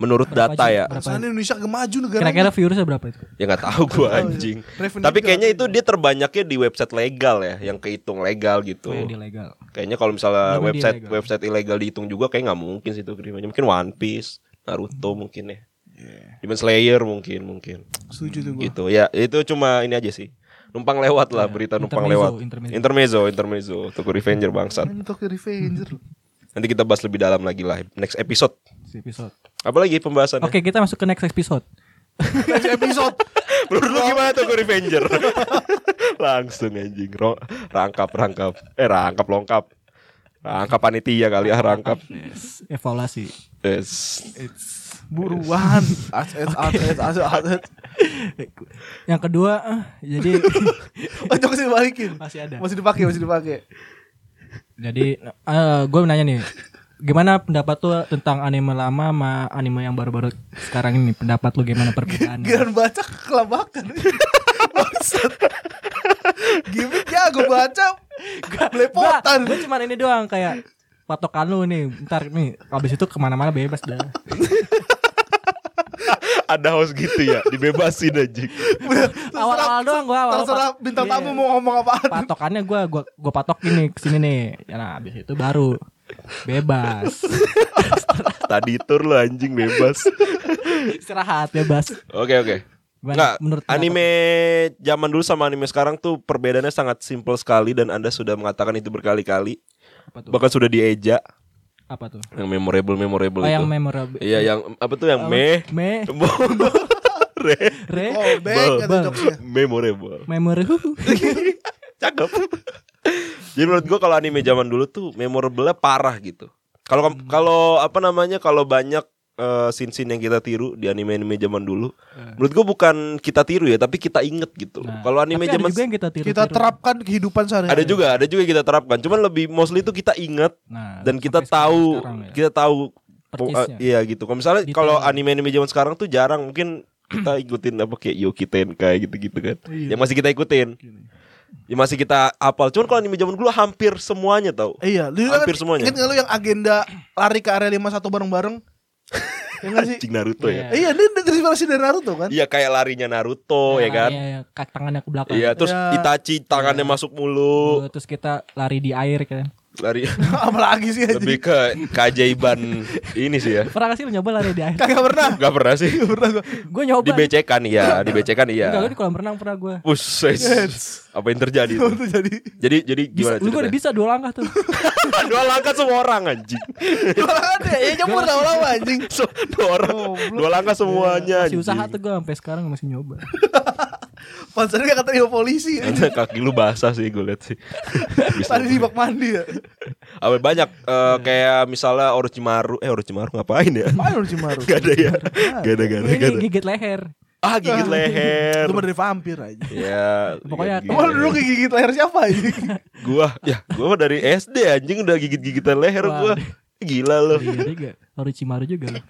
S1: Menurut
S2: Berapa
S1: data
S2: aja?
S1: ya.
S2: Berapa?
S3: Soalnya Indonesia kemaju negara.
S2: Kira-kira viewersnya berapa itu?
S1: Ya nggak tahu gua
S3: Nggak tahu ya.
S1: anjing.
S3: Revenue
S1: Tapi
S3: juga
S1: kayaknya
S3: ada.
S1: itu dia terbanyaknya di website legal ya, yang kehitung legal gitu.
S2: Oh, yang di legal.
S1: Kayaknya kalau misalnya
S2: Belum di
S1: website
S2: ilegal.
S1: website ilegal dihitung juga kayak nggak mungkin sih Tokyo Revenger. Mungkin One Piece, Naruto
S2: Hmm.
S1: mungkin ya. Demon Slayer mungkin mungkin.
S3: Setuju tuh gue.
S1: gitu ya itu cuma ini aja sih numpang lewat lah berita numpang
S2: Ya, intermezzo,
S1: lewat
S2: intermezzo.
S1: intermezzo intermezzo Toko Revenger bangsat
S3: Ini Tokyo Revenger.
S1: nanti kita bahas lebih dalam lagi lah next episode
S2: Si episode.
S1: apalagi pembahasannya
S2: Oke, kita masuk ke next episode.
S3: Next episode.
S1: menurut lu gimana Toko Revenger langsung anjing Ro- rangkap rangkap eh rangkap longkap Rangkap panitia kali ya rangkap.
S2: Evaluasi.
S1: Yes.
S3: Buruan. Aset, aset, aset, aset.
S2: Yang kedua, eh, jadi
S3: Oh, itu masih dibalikin.
S2: Masih ada.
S3: Masih dipakai, masih dipakai.
S2: jadi eh gue nanya nih, gimana pendapat tuh tentang anime lama sama anime yang baru-baru sekarang ini? Pendapat lu gimana perbedaannya?
S3: Giran baca kelabakan. Bangsat. Gimik ya gue baca belepotan.
S2: Gue cuman ini doang kayak patokan lu nih. Ntar nih, abis itu kemana-mana bebas dah.
S1: Ada host gitu ya, dibebasin aja.
S2: Awal-awal doang gue awal
S3: Terserah bintang
S2: Iya.
S3: tamu mau ngomong apaan.
S2: patokannya gue gua gua patok gini kesini nih ya nah abis itu baru bebas
S1: Tadi tur lo anjing bebas.
S2: istirahat bebas
S1: Oke oke.
S2: Gimana
S1: Nggak,
S2: menurut pendapat?
S1: anime zaman dulu sama anime sekarang tuh perbedaannya sangat simple sekali dan Anda sudah mengatakan itu berkali-kali.
S2: apa tuh
S1: Bahkan sudah dieja
S2: apa tuh
S1: yang memorable memorable
S2: oh
S1: itu.
S2: yang memorable
S1: Iya yang apa tuh yang me
S2: me
S1: Re-
S2: re
S3: Oh, back
S2: Bel.
S3: kata jokesnya.
S1: memorable.
S2: memory
S1: Cakep. Jadi menurut gua kalau anime zaman dulu tuh memorable parah gitu. Kalau
S2: Hmm.
S1: kalau apa namanya kalau banyak eh, scene-scene yang kita tiru di anime-anime zaman dulu, menurut gua bukan kita tiru ya, tapi kita inget gitu.
S2: Eh. Nah,
S1: kalau anime
S2: tapi ada
S1: zaman
S2: juga yang kita tiru
S3: Kita terapkan kehidupan sehari-hari.
S1: ada juga, ada juga yang kita terapkan. Cuman lebih mostly itu kita inget
S2: nah,
S1: dan kita
S2: sampai sekarang-
S1: tahu
S2: sekarang ya.
S1: kita tahu po- eh,
S2: Percisnya.
S1: iya gitu. Kalau misalnya
S2: Detail.
S1: kalau anime-anime zaman sekarang tuh jarang mungkin kita ikutin apa kayak Yuki Tenkai gitu-gitu kan.
S2: Oh, iya.
S1: Yang masih kita ikutin. Yang masih kita apal. Cuman kalau anime zaman dulu hampir semuanya tau
S3: Iya, lu kan
S1: Hampir semuanya.
S3: Ingat nggak lu yang agenda lari ke area 51 bareng-bareng? ya enggak sih?
S1: Cing Naruto ya.
S2: Iya.
S3: Iya, ini dari inspirasi dari Naruto kan?
S1: Iya kayak larinya Naruto ya
S2: Nah,
S1: kan.
S2: iya, iya, kaki tangannya ke belakang
S1: Iya, terus
S3: Iya.
S1: Itachi tangannya masuk mulu.
S2: Gua- terus kita lari di air kan
S1: Lari
S3: Apalagi sih anjing.
S1: lebih ke keajaiban ini sih ya.
S2: pernah gak sih lu nyoba lari di air
S3: Kagak pernah.
S1: Gak pernah sih.
S2: gue nyoba
S1: Dibecekan iya, dibecekan iya.
S2: Enggak, gua di kolam renang pernah gue
S1: Buset. Apa yang terjadi? tuh?
S3: Itu jadi
S1: Jadi jadi gimana
S2: bisa, lu gua udah
S1: ceritanya?
S2: bisa dua langkah tuh
S1: dua langkah semua orang anjing.
S3: Orang ada ya nyebur tau lama anjing.
S1: So, dua orang, dua langkah semuanya.
S2: Iya, Masih usaha
S1: anjing.
S2: tuh gue sampai sekarang masih nyoba.
S3: Pansannya gak keterima polisi.
S1: Karena kaki lu basah sih gue liat sih. Habis
S3: Tadi di
S1: lu-
S3: bak mandi ya.
S1: Apa banyak
S2: Iya.
S1: eh, kayak misalnya Orochimaru, eh Orochimaru ngapain ya?
S3: Apaan lu Cimaru?
S1: Gak ada ya. Gak ada gak ada. gak
S2: Ini
S1: ada.
S2: gigit leher.
S1: Ah gigit leher.
S3: Itu mah dari vampir aja.
S1: Ya,
S2: Pokoknya-
S1: gigit
S3: Emang
S1: leher.
S3: lu dulu gigit leher siapa anjing?
S1: gua ya gua mah dari SD anjing udah gigit-gigitan leher gua.
S2: Wah.
S1: Gila lu.
S2: Iya juga. Orochimaru juga loh.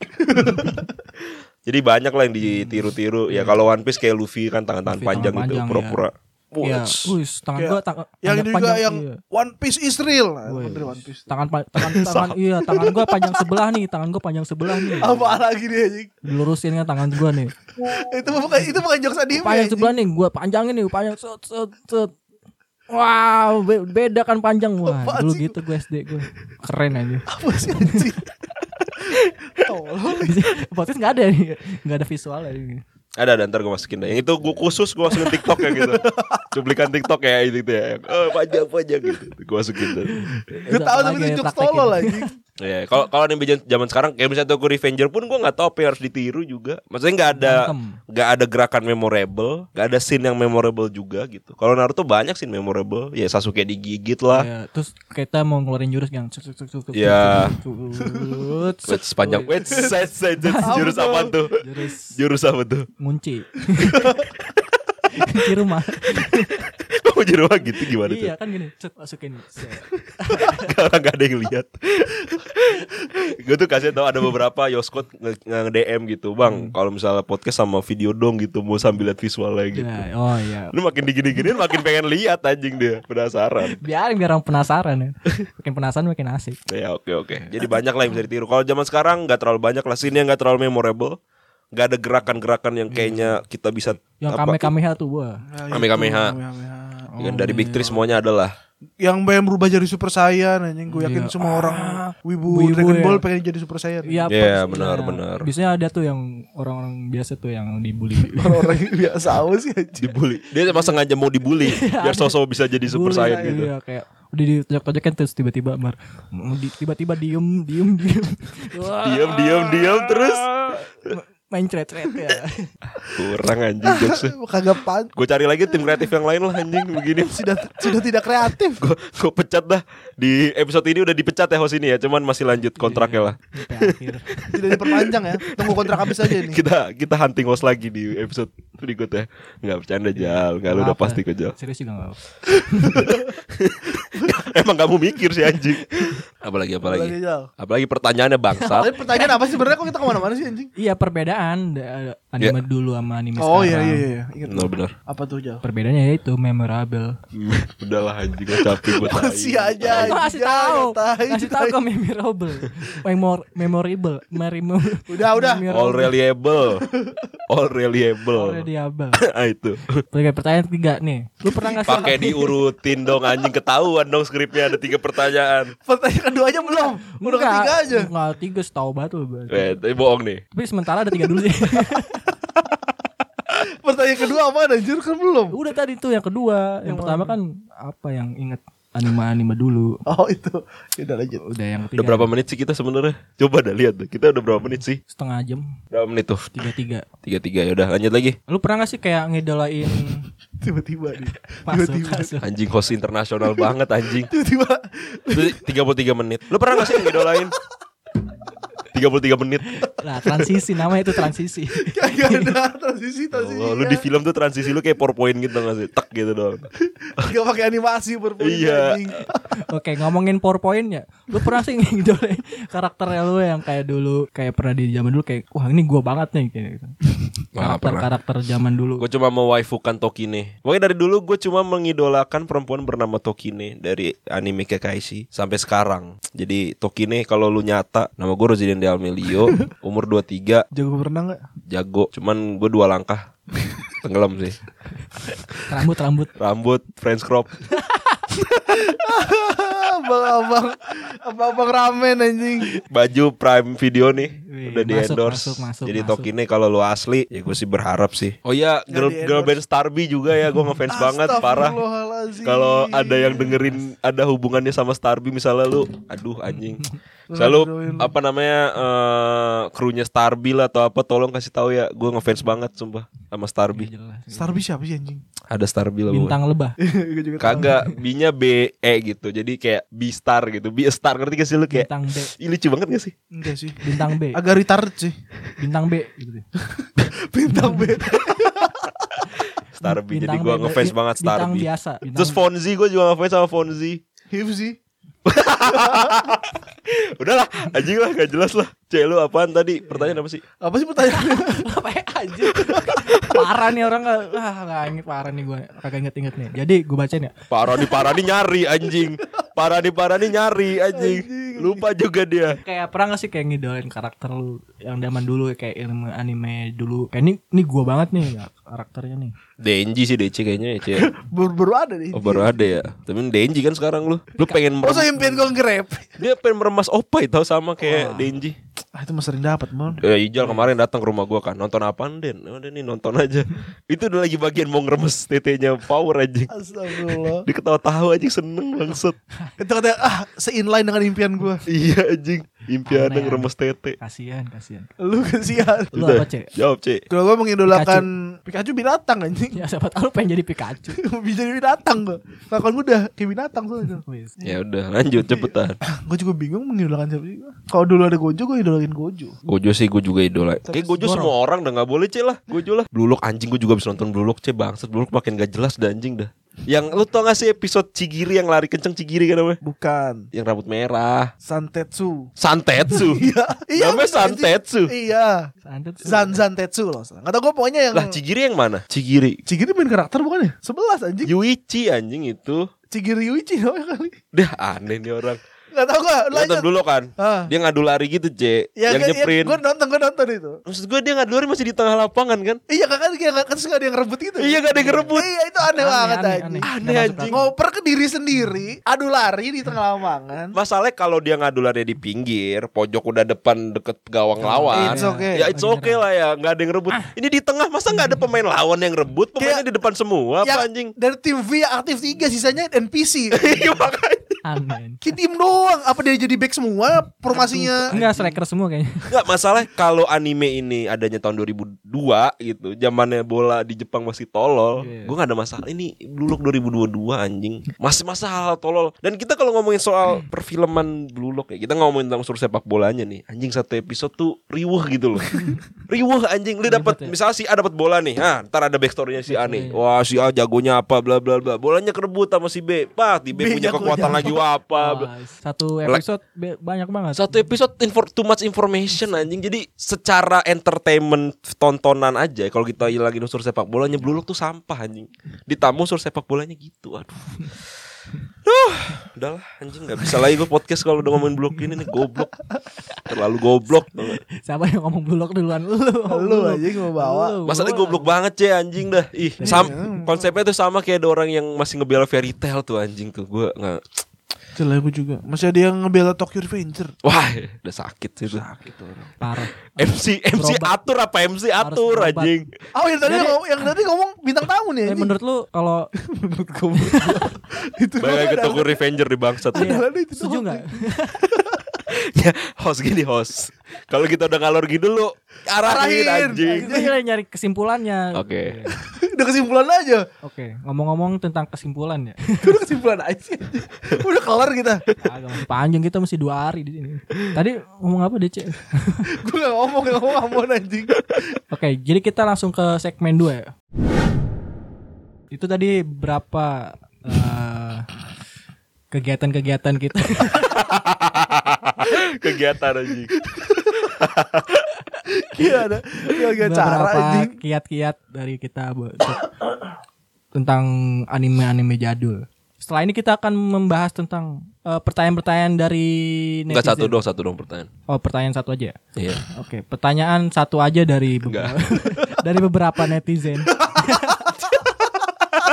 S1: Jadi banyak lah yang ditiru-tiru. Ya kalau One Piece kayak Luffy kan tangan-tangan
S2: Iya. Luffy
S1: panjang,
S2: tangan
S1: gitu,
S2: panjang,
S1: pura-pura.
S2: Iya.
S1: Wuts.
S2: Wis, tangan
S3: Kayak
S2: gua tangan
S3: Yang
S2: panjang-
S3: ini juga
S2: panjang,
S3: yang
S2: iya.
S3: One Piece is real. Nah,
S2: Woi.
S3: bener One Piece.
S2: tangan pa- tangan tangan iya tangan gua panjang sebelah nih, tangan gua panjang sebelah nih.
S3: Apa lagi dia anjing?
S2: Dilurusin kan tangan gua nih.
S3: Itu bukan itu bukan jokes anime.
S2: Panjang
S3: anjing.
S2: sebelah nih, gua panjangin nih, panjang set set set. Wow, be- beda kan panjang Wah,
S3: Apaan
S2: dulu
S3: sih?
S2: gitu gue SD gue Keren aja
S3: Apa sih anjing? Tolong.
S2: Podcast gak ada nih Gak ada visualnya ini.
S1: Ada ada ntar gue masukin deh. Yang itu gue khusus gue masukin TikTok ya gitu. Cuplikan TikTok ya gitu, gitu ya. Oh, panjang panjang gitu. Gue masukin tuh.
S3: Gue tahu tapi itu jokes tolol lagi.
S1: Ya, kalau kalau anime jam- zaman sekarang kayak misalnya Tokyo Revenger pun gue nggak tahu apa yang harus ditiru juga. Maksudnya nggak ada
S2: Berantem.
S1: nggak ada gerakan memorable, nggak ada scene yang memorable juga gitu. Kalau Naruto banyak scene memorable. Ya Sasuke digigit lah.
S2: Ya, terus kita mau ngeluarin jurus yang cuk cuk cuk cuk cuk,
S1: Ya.
S2: cuk, cuk, cuk, cuk.
S1: Wait, sepanjang wait, set, set, set. jurus apa tuh?
S2: Jurus
S1: Jurus apa tuh?
S2: ngunci. Kunci rumah.
S1: Kamu jurus apa gitu gimana tuh?
S2: iya kan gini, cet masukin. set.
S1: Orang gak ada yang lihat. gue tuh kasih tau ada beberapa Yoskot nge- nge- DM gitu,
S2: Hmm.
S1: bang. Kalau misalnya podcast sama video dong gitu, mau sambil lihat visualnya gitu.
S2: Ya, oh iya.
S1: Lu makin digini-giniin makin pengen lihat anjing dia penasaran.
S2: Biarin biar orang penasaran ya. Makin penasaran makin asik.
S1: Ya oke oke. Jadi banyak lah yang bisa ditiru. Kalau zaman sekarang nggak terlalu banyak lah scene yang nggak terlalu memorable. Gak ada gerakan-gerakan yang kayaknya kita bisa
S2: Iya. Yang Oh,
S1: apa-
S2: kame kameha tuh wah.
S1: Kamehameha.
S3: Kamehameha.
S1: Yang dari Big
S2: iya.
S1: Three semuanya ada lah.
S3: Yang pengen berubah jadi Super Saiyan anjing. Gue yakin
S2: Iya.
S3: semua orang wibu,
S2: wibu
S3: Dragon
S2: ya.
S3: Ball pengen jadi Super Saiyan.
S2: Iya,
S1: Iya,
S2: pas-
S1: benar,
S2: iya.
S1: benar.
S2: Biasanya ada tuh yang orang-orang biasa tuh yang dibully.
S3: Orang-orang yang biasa aja sih anjing.
S1: Dibully. Dia emang sengaja mau dibully biar sosok bisa jadi super
S2: Iya. Bully,
S1: saiyan gitu.
S2: Iya, kayak udah ditojok-tojokin terus tiba-tiba mar
S1: Iya.
S2: di- tiba-tiba diem diem diem. Wah.
S1: Diam diam diam terus
S2: main cret-cret ya.
S1: Kurang anjing jokesnya.
S3: kagak pan
S1: Gue cari lagi tim kreatif yang lain lah anjing begini.
S3: sudah sudah tidak kreatif
S1: Gue gue pecat dah di episode ini udah dipecat ya host ini ya. Cuman masih lanjut kontraknya lah.
S2: Sampai akhir.
S3: tidak diperpanjang ya tunggu kontrak habis aja ini
S1: Kita kita hunting host lagi di episode berikutnya. Nggak bercanda jal, nggak lu udah
S2: Maaf ya.
S1: pasti kejal.
S2: Serius juga nggak apa-apa.
S1: Emang kamu mikir sih anjing. Apalagi
S3: Apalagi,
S1: apalagi.
S3: Jal?
S1: Apalagi pertanyaannya bangsat.
S3: tapi pertanyaan apa sih sebenarnya kok kita kemana-mana sih anjing
S2: Iya perbedaan
S1: Iya.
S2: da- anime dulu sama anime
S3: oh iya
S2: sekarang.
S3: iya iya ingat
S1: Benar benar.
S3: apa tuh jauh
S2: Perbedaannya itu memorable.
S1: Udahlah anjing gue capek gue
S3: masih
S2: Gua
S3: aja anjing,
S2: kasih tahu,
S3: Jal, tai,
S2: kasih tahu
S3: tai.
S2: kok memorable, Memor- memorable, memorable.
S3: Udah, udah.
S1: All reliable. All reliable.
S2: Memorable.
S1: Ah itu.
S2: Oke, pertanyaan ketiga nih. Lu pernah nggak sih?
S1: Pakai diurutin dong anjing ketahuan dong skripnya ada tiga pertanyaan.
S3: pertanyaan keduanya belum udah
S2: Enggak,
S3: ketiga aja
S2: Enggak, tiga setahu banget lu. Bang.
S1: Eh, tapi bohong nih.
S2: Tapi sementara ada tiga dulu sih.
S3: pertanyaan kedua apa anjir kan belum
S2: Udah tadi tuh yang kedua. Yang pertama kan apa yang inget anime-anime dulu.
S3: oh itu udah lanjut
S2: Udah yang
S1: Udah
S2: ketiga
S1: berapa menit sih kita sebenarnya? Coba dah lihat deh. Kita udah berapa menit sih?
S2: setengah jam,
S1: Berapa menit tuh?
S2: tiga-tiga.
S1: Tiga tiga ya udah lanjut lagi.
S2: Lu pernah gak sih kayak ngidolain
S3: tiba-tiba nih
S2: masuk,
S3: tiba-tiba
S2: masuk.
S1: Anjing host internasional banget anjing.
S3: tiba-tiba
S1: Tiga puluh tiga menit. Lu pernah gak sih ngidolain? Tiga puluh tiga menit.
S2: Lah transisi namanya itu transisi.
S3: kagak ada transisi transisi
S1: Oh, lu di film tuh transisi lu kayak powerpoint gitu gak sih? Tek gitu doang.
S3: Gak pakai animasi berpoin
S1: Iya.
S3: anjing.
S2: Oke ngomongin PowerPoint ya Lu pernah sih ngidolain karakternya lu yang kayak dulu Kayak pernah di zaman dulu kayak Wah ini gua banget nih kayak gitu.
S1: Wah, pernah.
S2: Karakter-karakter zaman dulu
S1: Gue cuma mewaifukan Tokine. Pokoknya dari dulu gue cuma mengidolakan perempuan bernama Tokine dari anime Kakashi sampai sekarang. Jadi Tokine kalau lu nyata, nama gue Rosiden Del Melio, umur 23,
S3: Jago berenang gak?
S1: jago. Cuman gue dua langkah tenggelam sih.
S2: Rambut-rambut
S1: Rambut French crop.
S3: Ah, Abang-abang Abang-abang ramen anjing
S1: Baju Prime Video nih
S2: Wih,
S1: udah di
S2: masuk,
S1: endorse.
S2: masuk, masuk,
S1: Jadi
S2: masuk.
S1: Tokine kalau lu asli ya gue sih berharap sih. Oh iya, girl,
S3: di-endorse.
S1: girl band Starby juga ya gue ngefans banget parah.
S3: Astagfirullahalazim.
S1: Kalau ada yang dengerin ada hubungannya sama Starby misalnya lu aduh anjing. Selalu apa namanya eh krunya Starby lah atau apa tolong kasih tahu ya. Gue ngefans banget sumpah sama Starby.
S2: Iya, jelas.
S3: Starby siapa sih anjing?
S1: Ada Starby lah.
S2: Bintang lebah
S3: Gua
S1: pokoknya.
S3: juga
S1: Kagak B-nya B E gitu. Jadi kayak B star gitu. B star ngerti gak sih lu kayak
S2: Bintang B
S1: Ih, lucu banget gak sih?
S3: Enggak sih
S2: Bintang
S1: E.
S2: B
S3: Agak retard sih
S2: Bintang B gitu deh.
S3: Bintang beda
S1: Starby.
S2: Bintang
S1: Jadi gue
S2: B-
S1: ngefans
S2: bi-
S1: banget
S2: bintang
S1: Starby.
S2: biasa, bintang-
S1: Terus Fonzie gue juga ngefans sama Fonzie.
S3: Hip Iya sih
S1: Udahlah, anjing lah gak jelas lah. Cek lu apaan tadi? Pertanyaan apa sih?
S3: Apa sih pertanyaannya?
S2: Apa ya aja Parah nih orang nggak- ah, nggak inget parah nih gue Kagak inget-inget nih Jadi gue bacain ya
S1: Parani Parani nyari anjing. Parani Parani nyari anjing. Lupa juga dia.
S2: kayak pernah gak sih kayak ngidolain karakter lu yang zaman dulu kayak ilmu anime dulu kayak ini ini gua banget nih ya, karakternya nih
S1: Denji sih DC kayaknya ya, Cie.
S3: Baru-baru ada nih
S1: Oh, baru ada ya. Tapi Denji kan sekarang lu. Lu pengen meremas,
S3: Masa impian gue nge-rap?
S1: dia pengen meremas Opai tau sama kayak Denji.
S3: Ah itu mah sering dapat mon
S1: Eh, Ijal kemarin datang ke rumah gua kan nonton apaan Den? Udah nih nonton aja. Itu udah lagi bagian mau ngeremes tetenya power anjing.
S3: Astagfirullah
S1: Dia ketawa-tawa anjing seneng bangset.
S3: Itu katanya ah seinline dengan impian gue
S1: iya anjing, impian
S2: Aneh,
S1: ngeremes tete.
S2: kasihan kasihan
S3: Lu kasihan
S2: Lu
S1: Udah,
S2: apa, Cek?
S1: Jawab, Cek.
S3: Kalau gue mengidolakan Pikachu, binatang anjing
S2: ya siapa tahu lu pengen jadi Pikachu
S3: Bisa jadi binatang gue Lakon gue udah kayak binatang soalnya
S2: Wis.
S1: Ya udah, lanjut cepetan.
S3: Gue juga bingung mengidolakan siapa sih gua. Kalau dulu ada Gojo, gue idolakin Gojo
S1: Gojo sih gue juga idola. Kayak Gojo semua orang udah nggak boleh cek lah. Gojo lah. Blue Lock anjing gue juga bisa nonton Blue Lock cek bangsat. Blue Lock makin gak jelas dah anjing dah. Yang lu tau gak sih episode Cigiri yang lari kenceng Cigiri kan namanya?
S3: Bukan
S1: Yang rambut merah.
S3: Santetsu
S1: Santetsu.
S3: Iya iya,
S1: Namanya
S3: bener, anjing.
S1: Santetsu.
S3: Iya
S2: Santet tuh.
S3: Zan Santetsu loh salah. Kata gue pokoknya yang
S1: lah Cigiri yang mana? Cigiri.
S3: Cigiri main karakter bukan ya? Sebelas anjing
S1: Yuichi anjing itu.
S3: Cigiri Yuichi namanya kali
S1: Dah aneh nih orang.
S3: Gak tau gue
S1: Lu Nonton
S3: lanjut
S1: Blue Lock kan?
S3: Ah.
S1: Dia ngadu lari gitu cek.
S3: Ya,
S1: yang nyeprin.
S3: Gue nonton, gue nonton itu
S1: Maksud gue dia ngadu lari masih di tengah lapangan kan?
S3: Iya kakak kayak kan suka ada yang rebut gitu.
S1: Iya, gak ada yang ngerebut.
S3: Iya itu aneh,
S2: Aneh,
S3: banget
S2: aneh,
S3: anjing.
S1: Aneh
S2: aneh. Nggak masuk
S1: anjing.
S3: Ngoper ke diri sendiri, adu lari di tengah lapangan.
S1: Masalahnya kalau dia ngadulannya di pinggir, pojok udah depan deket gawang lawan.
S3: It's okay.
S1: Ya it's okay lah ya, nggak ada yang rebut. Ini di tengah masa nggak ada pemain lawan yang rebut, pemainnya di depan semua apa
S3: Ya,
S1: anjing?
S3: Dari tim V yang aktif tiga sisanya NPC.
S1: Iya makanya.
S2: Aneh.
S3: Kid Im doang. Apa dia jadi back semua formasinya?
S2: Enggak striker semua kayaknya.
S1: Enggak masalah kalau anime ini adanya tahun 2002 gitu. Zamannya bola di Jepang masih tolol.
S2: Iya.
S1: Gue nggak ada masalah. Ini Blue Lock 2022 anjing. Masih masa hal, tolol. Dan kita kalau ngomongin soal perfilman Blue Lock ya, kita ngomongin tentang unsur sepak bolanya nih. Anjing satu episode tuh riuh gitu loh. riuh anjing. Lu dapat
S2: Ribet ya.
S1: misalnya si A dapat bola nih. Ah, ntar ada backstorynya si A nih. Wah, si A jagonya apa bla bla bla. Bolanya kerebut sama si B. Pak, di B,
S3: B
S1: punya
S3: jagonya
S1: kekuatan
S3: apa?
S1: lagi
S3: Ah,
S1: apa. bla.
S2: Wah, satu episode be- banyak banget.
S1: Satu episode infor too much information anjing. Jadi secara entertainment tontonan aja kalau kita hilangin unsur sepak bolanya Blue Lock tuh sampah anjing. Ditambah unsur sepak bolanya gitu. Aduh. Duh, udahlah anjing nggak bisa lagi gue podcast kalau udah ngomongin blok ini nih goblok. Terlalu goblok.
S2: Siapa yang ngomong bulog duluan? Lu. ngomong
S3: Lu
S2: bulog.
S3: aja yang ngebawa.
S2: Lu,
S1: Masalahnya
S2: gua.
S1: goblok banget ceh anjing dah. Ih, sam konsepnya tuh sama kayak ada orang yang masih ngebela fairy tale tuh anjing tuh. Gue nggak
S3: Celah gue juga. Masih ada yang ngebela Tokyo Revenger.
S1: wah, udah sakit sih tuh.
S2: Parah.
S1: MC MC
S2: Berobat.
S1: atur apa MC atur
S2: berobat.
S1: anjing.
S3: Oh yang tadi ngomong, yang tadi ngomong bintang tamu
S2: Eh,
S3: nih. anjing.
S2: menurut lu kalau
S3: menurut kamu itu
S1: Bayangin ke toko Revenger di bangsat
S2: Iya.
S3: Padahal itu
S2: setuju
S3: doang.
S2: nggak?
S1: ya, host gini host Kalau kita udah ngalor gini dulu Arahin
S3: Arahin.
S1: anjing
S2: Gue lagi nyari kesimpulannya.
S1: Oke
S3: udah kesimpulan aja
S2: Oke, ngomong-ngomong tentang kesimpulan ya.
S3: udah kesimpulan aja sih anjing. udah kelar kita
S2: Ah, Agak masih panjang kita masih dua hari di sini. Tadi ngomong apa DC?
S3: gue gak ngomong gak ngomong ambon anjing
S2: Oke, jadi kita langsung ke segmen 2 ya. Itu tadi berapa eh, kegiatan-kegiatan kita.
S1: Kegiatan anjing
S3: iya ada gak ada cara anjing
S2: berapa kiat-kiat dari kita bu- tentang anime-anime jadul. Setelah ini kita akan membahas tentang eh, pertanyaan-pertanyaan dari
S1: Enggak satu
S2: netizen.
S1: dong satu dong pertanyaan
S2: Oh, pertanyaan satu aja. ya?
S1: Iya
S2: Oke, pertanyaan satu aja dari beberapa, dari beberapa netizen.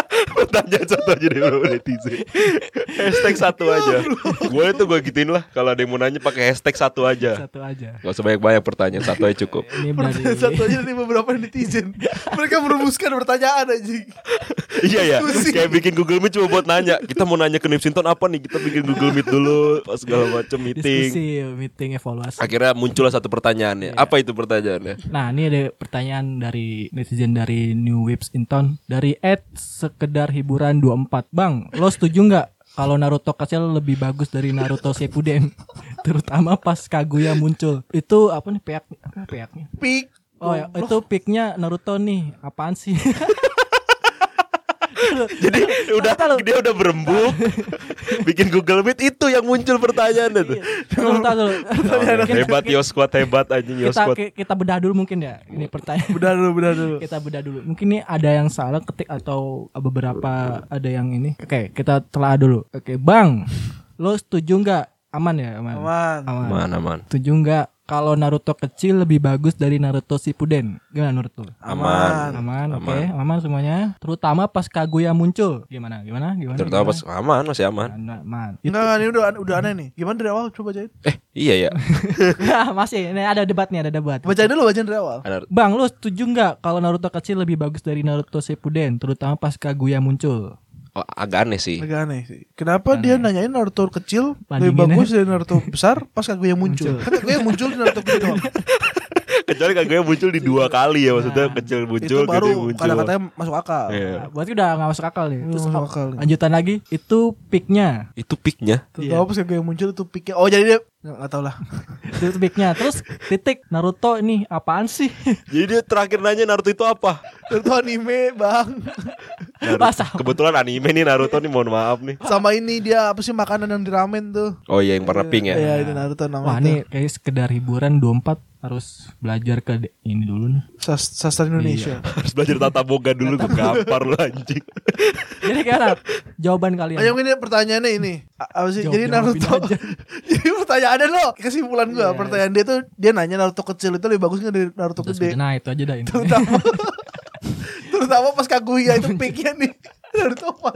S1: Pertanyaan satu aja deh bro, netizen Hashtag satu
S2: Ya
S1: aja Gue itu gue gituin lah Kalau ada yang mau nanya pakai hashtag satu aja
S2: satu aja.
S1: Gak usah banyak-banyak pertanyaan Satu aja cukup
S2: Ini dari
S3: Pertanyaan satu aja dari beberapa netizen mereka merumuskan pertanyaan anjing
S1: Iya ya Kayak bikin Google Meet cuma buat nanya Kita mau nanya ke Nipsinton apa nih Kita bikin Google Meet dulu pas Segala macam meeting
S2: diskusi meeting evaluasi.
S1: Akhirnya muncullah satu pertanyaan ya Apa itu pertanyaannya
S2: Nah, ini ada pertanyaan dari netizen dari New Whips Inton dari Ed sekedar hiburan 24. Bang, lo setuju nggak kalau Naruto kecil lebih bagus dari Naruto Shippuden? Terutama pas Kaguya muncul. Itu apa nih peak apa ya, peaknya?
S3: pik
S2: Oh, ya, itu peaknya Naruto nih. Apaan sih?
S1: Jadi udah dia udah berembuk bikin Google Meet itu yang muncul pertanyaannya tuh.
S2: Naruto dulu.
S1: hebat yo squad hebat anjing yo
S2: Kita,
S1: squad.
S2: kita kita bedah dulu mungkin ya. Ini pertanyaan.
S3: benar dulu benar dulu
S2: kita bedah dulu. Mungkin ini ada yang salah ketik atau beberapa ada yang ini. Oke, kita telah dulu. Oke, Bang, lo setuju nggak? Aman ya, aman.
S3: aman
S2: Aman.
S1: Aman aman.
S2: Setuju nggak kalau Naruto kecil lebih bagus dari Naruto Shippuden? Gimana menurut lo?
S1: Aman.
S2: Aman, oke, aman semuanya. Terutama pas Kaguya muncul. Gimana? Gimana? Gimana?
S1: Terutama pas aman masih aman.
S2: Aman, aman. Itu-
S3: Enggak, ini udah udah aneh nih. Gimana dari awal? Coba bacain.
S1: Eh, iya ya.
S2: Nah, masih ini ada debat nih, ada debat.
S3: Bacain dulu, bacain dari awal.
S1: Ada-
S2: Bang, lo setuju nggak kalau Naruto kecil lebih bagus dari Naruto Shippuden, terutama pas Kaguya muncul?
S1: oh, agak aneh sih.
S3: Agak aneh sih. Kenapa dia nanyain Naruto kecil lebih
S2: Bandinginnya.
S3: bagus dari Naruto besar pas Kaguya muncul? Kan Kaguya muncul di Naruto kecil doang.
S1: Kecuali kagaknya muncul di dua kali ya maksudnya kecil
S3: Itu
S1: muncul gede
S3: baru
S1: muncul.
S3: kata-katanya masuk akal.
S1: Iya.
S2: Nah, berarti udah nggak masuk akal nih. Terus
S3: masuk
S2: ap-
S3: akal nih.
S2: lanjutan lagi itu peaknya,
S1: Itu peaknya.
S3: Tuh,
S2: Iya.
S3: Tahu pas Kaguya muncul itu pikir oh jadi dia nggak nggak tahu lah.
S2: itu peaknya. Terus titik Naruto ini apaan sih?
S1: Jadi dia terakhir nanya Naruto itu apa?
S3: Naruto anime, Bang.
S1: Naruto.
S2: Masa?
S1: Kebetulan anime nih Naruto nih mohon maaf nih.
S3: Sama ini dia apa sih makanan yang di ramen tuh?
S1: Oh iya yang warna pink ya.
S3: Iya, itu Naruto namanya.
S2: Wah
S3: tuh.
S2: ini kayak sekedar hiburan 24 harus belajar ke de- ini dulu nih.
S3: Sas- sastra
S2: Iya.
S3: Indonesia.
S1: Harus belajar tata boga dulu gue gampar lu anjing.
S2: Jadi kayak jawaban kalian.
S3: Ayo ini pertanyaannya ini A- apa sih?
S2: Iya. Jawab-
S3: jadi
S2: jawabin
S3: Naruto.
S2: aja. Iya.
S3: jadi pertanyaannya lo kesimpulan gua pertanyaan dia tuh dia nanya Naruto kecil itu lebih bagus nggak dari Naruto
S2: Terus
S3: gede?
S2: Nah itu aja dah ini.
S3: Terutama terutama pas Kaguya itu peaknya nih Naruto apa?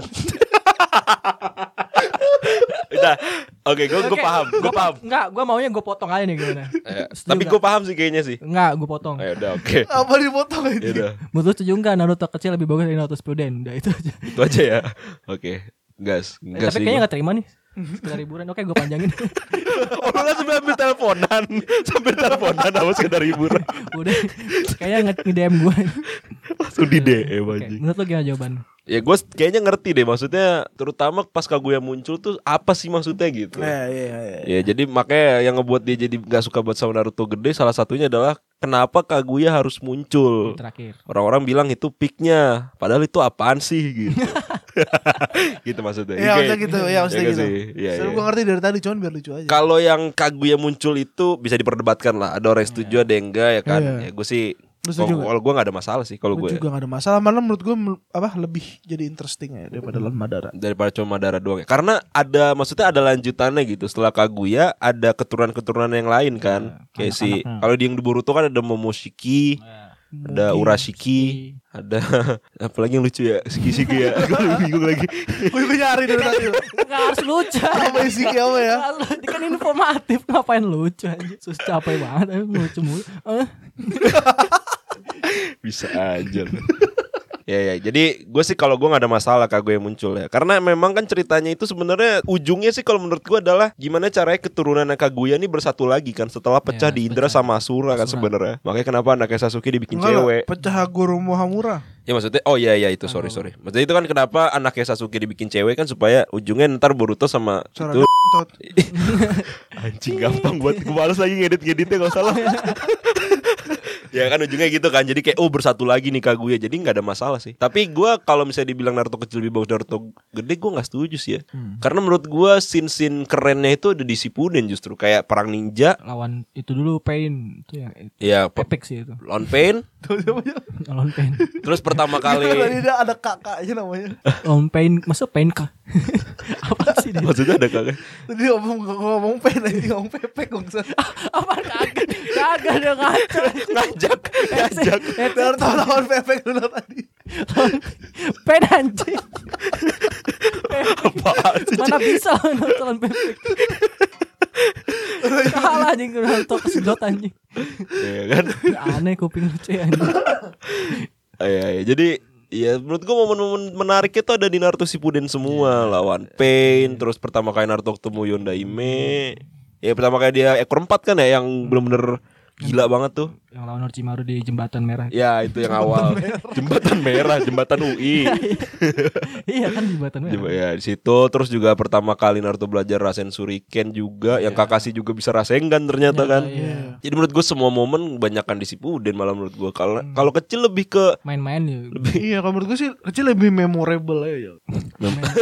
S1: Udah. Oke, gue gue paham, gue paham.
S2: Enggak, gue maunya gue potong aja nih gimana.
S1: Eh,
S2: Setuju
S1: tapi
S2: nggak?
S1: gue paham sih kayaknya sih.
S2: Enggak, gue potong.
S1: Ayo Ya udah oke.
S3: apa dipotong
S1: Ya
S3: aja? Iya,
S1: udah.
S2: Menurut lu setuju nggak Naruto kecil lebih bagus dari Naruto Shippuden? Udah itu aja.
S1: Itu aja ya. Oke. Gas,
S2: Eh,
S1: gas sih.
S2: tapi kayaknya
S1: gua.
S2: nggak terima nih. sekedar hiburan oke gue panjangin
S1: Orang kan sambil ambil teleponan, sambil teleponan apa sekedar hiburan.
S2: udah kayaknya nge DM gue
S1: Langsung di
S3: Iya,
S1: DM
S2: Oke,
S1: anjing.
S2: menurut lo gimana jawaban
S1: Ya gue kayaknya ngerti deh maksudnya terutama pas kaguya muncul tuh apa sih maksudnya gitu.
S3: Iya,
S2: Eh,
S3: iya, iya.
S1: Ya jadi makanya yang ngebuat dia jadi gak suka buat sama Naruto gede salah satunya adalah kenapa Kaguya harus muncul.
S2: terakhir
S1: Orang-orang bilang itu peaknya, padahal itu apaan sih gitu. gitu maksudnya.
S3: Iya,
S1: Oke.
S3: maksudnya gitu, iya, maksudnya
S1: Iya gak
S3: gitu.
S1: sih? Iya,
S3: Soalnya
S1: iya.
S3: gue ngerti dari tadi, cuman biar lucu aja.
S1: Kalau yang Kaguya muncul itu bisa diperdebatkan lah. Ada orang yang setuju, ada yang enggak ya kan.
S3: Iya.
S1: Ya gue sih
S3: Lu setuju
S1: kalau gue gak ada masalah sih kalau
S3: Gue
S1: gue. ya.
S3: juga gak ada masalah, malah menurut gue apa lebih jadi interesting ya daripada Lan Madara.
S1: daripada cuma darah doang ya. Karena ada maksudnya ada lanjutannya gitu. Setelah Kaguya ada keturunan-keturunan yang lain kan.
S3: Iya,
S1: Kayak si
S3: hmm.
S2: anak-anaknya.
S1: kalau di yang di Boruto kan ada Momoshiki, ada
S3: Mungkin.
S1: Urashiki, ada apalagi yang lucu ya, Shiki-shiki ya. Gue bingung lagi.
S3: Gue juga nyari dari tadi.
S2: Gak harus lucu
S3: Apa sih apa ya?
S2: Nggak lu- Ini kan informatif Ngapain lucu aja Sus capek banget Tapi lucu mulu Eh,
S1: Bisa aja. lu. Ya ya, jadi gue sih kalau gue nggak ada masalah Kaguya muncul ya, karena memang kan ceritanya itu sebenarnya ujungnya sih kalau menurut gue adalah gimana caranya keturunan Kaguya ini bersatu lagi kan setelah pecah
S2: Ya,
S1: di Indra
S2: pecah.
S1: sama Asura kan
S2: Asura.
S1: sebenarnya, makanya kenapa anaknya Sasuke dibikin
S3: Enggak lah,
S1: cewek.
S3: Pecah guru Muhamura.
S1: Ya maksudnya oh iya iya itu sorry sorry. Maksudnya itu kan kenapa anaknya Sasuke dibikin cewek kan supaya ujungnya ntar Boruto sama
S3: Suara
S1: itu
S3: d***tot.
S1: anjing gampang buat gue males lagi ngedit ngeditnya gak salah. ya kan ujungnya gitu kan jadi kayak oh bersatu lagi nih Kaguya jadi nggak ada masalah sih tapi gua kalau misalnya dibilang Naruto kecil lebih bagus Naruto gede gua nggak setuju sih ya karena menurut gua sin sin kerennya itu ada di Shippuden justru kayak perang ninja
S2: Lawan itu dulu Pain Itu yang
S1: ya pe-
S2: Epic sih itu
S1: Lone Pain
S3: Tuh, siapa ya?
S2: Lawan Pain
S1: terus pertama
S3: Tadi
S1: kali
S3: dia ada kakaknya namanya.
S2: Lawan Pain Masa Pain kah Apa sih dia
S1: maksudnya ada kagak
S3: Tadi dia ngomong ngomong pen aja ngomong pepek kok.
S2: Apa kagak Kagak dia ngaco
S1: ngajak
S3: iya.
S1: ngajak
S3: Dengar tahu-tahu pepek dulu tadi.
S2: Pain anjing Pepek.
S1: apaan sih
S2: Mana bisa nonton Pepek Kalah anjing Nonton kesedot anjing Ya,
S1: Iya kan?
S2: Aneh kuping lucu ya anjing
S1: Iya, iya. jadi ya menurut gua momen-momen menariknya tuh ada di Naruto Shippuden
S2: Iya,
S1: semua lawan Pain terus pertama kali Naruto ketemu Yondaime. Ya pertama kali dia ekor empat kan ya yang bener-bener gila banget tuh.
S2: Yang lawan Orochimaru di jembatan merah
S1: Ya itu yang awal. Jembatan merah, jembatan UI.
S2: Iya kan jembatan merah
S1: Jemba- ya di situ terus juga pertama kali Naruto belajar Rasen Shuriken juga yang Kakashi juga bisa Rasengan ternyata kan.
S2: Iya.
S1: Jadi menurut gua semua momen banyakkan di Shippuden malah menurut gua kalau
S2: Hmm.
S1: kalau kecil lebih ke
S2: Main-main ya
S3: Iya, kalau menurut gue sih kecil lebih memorable aja.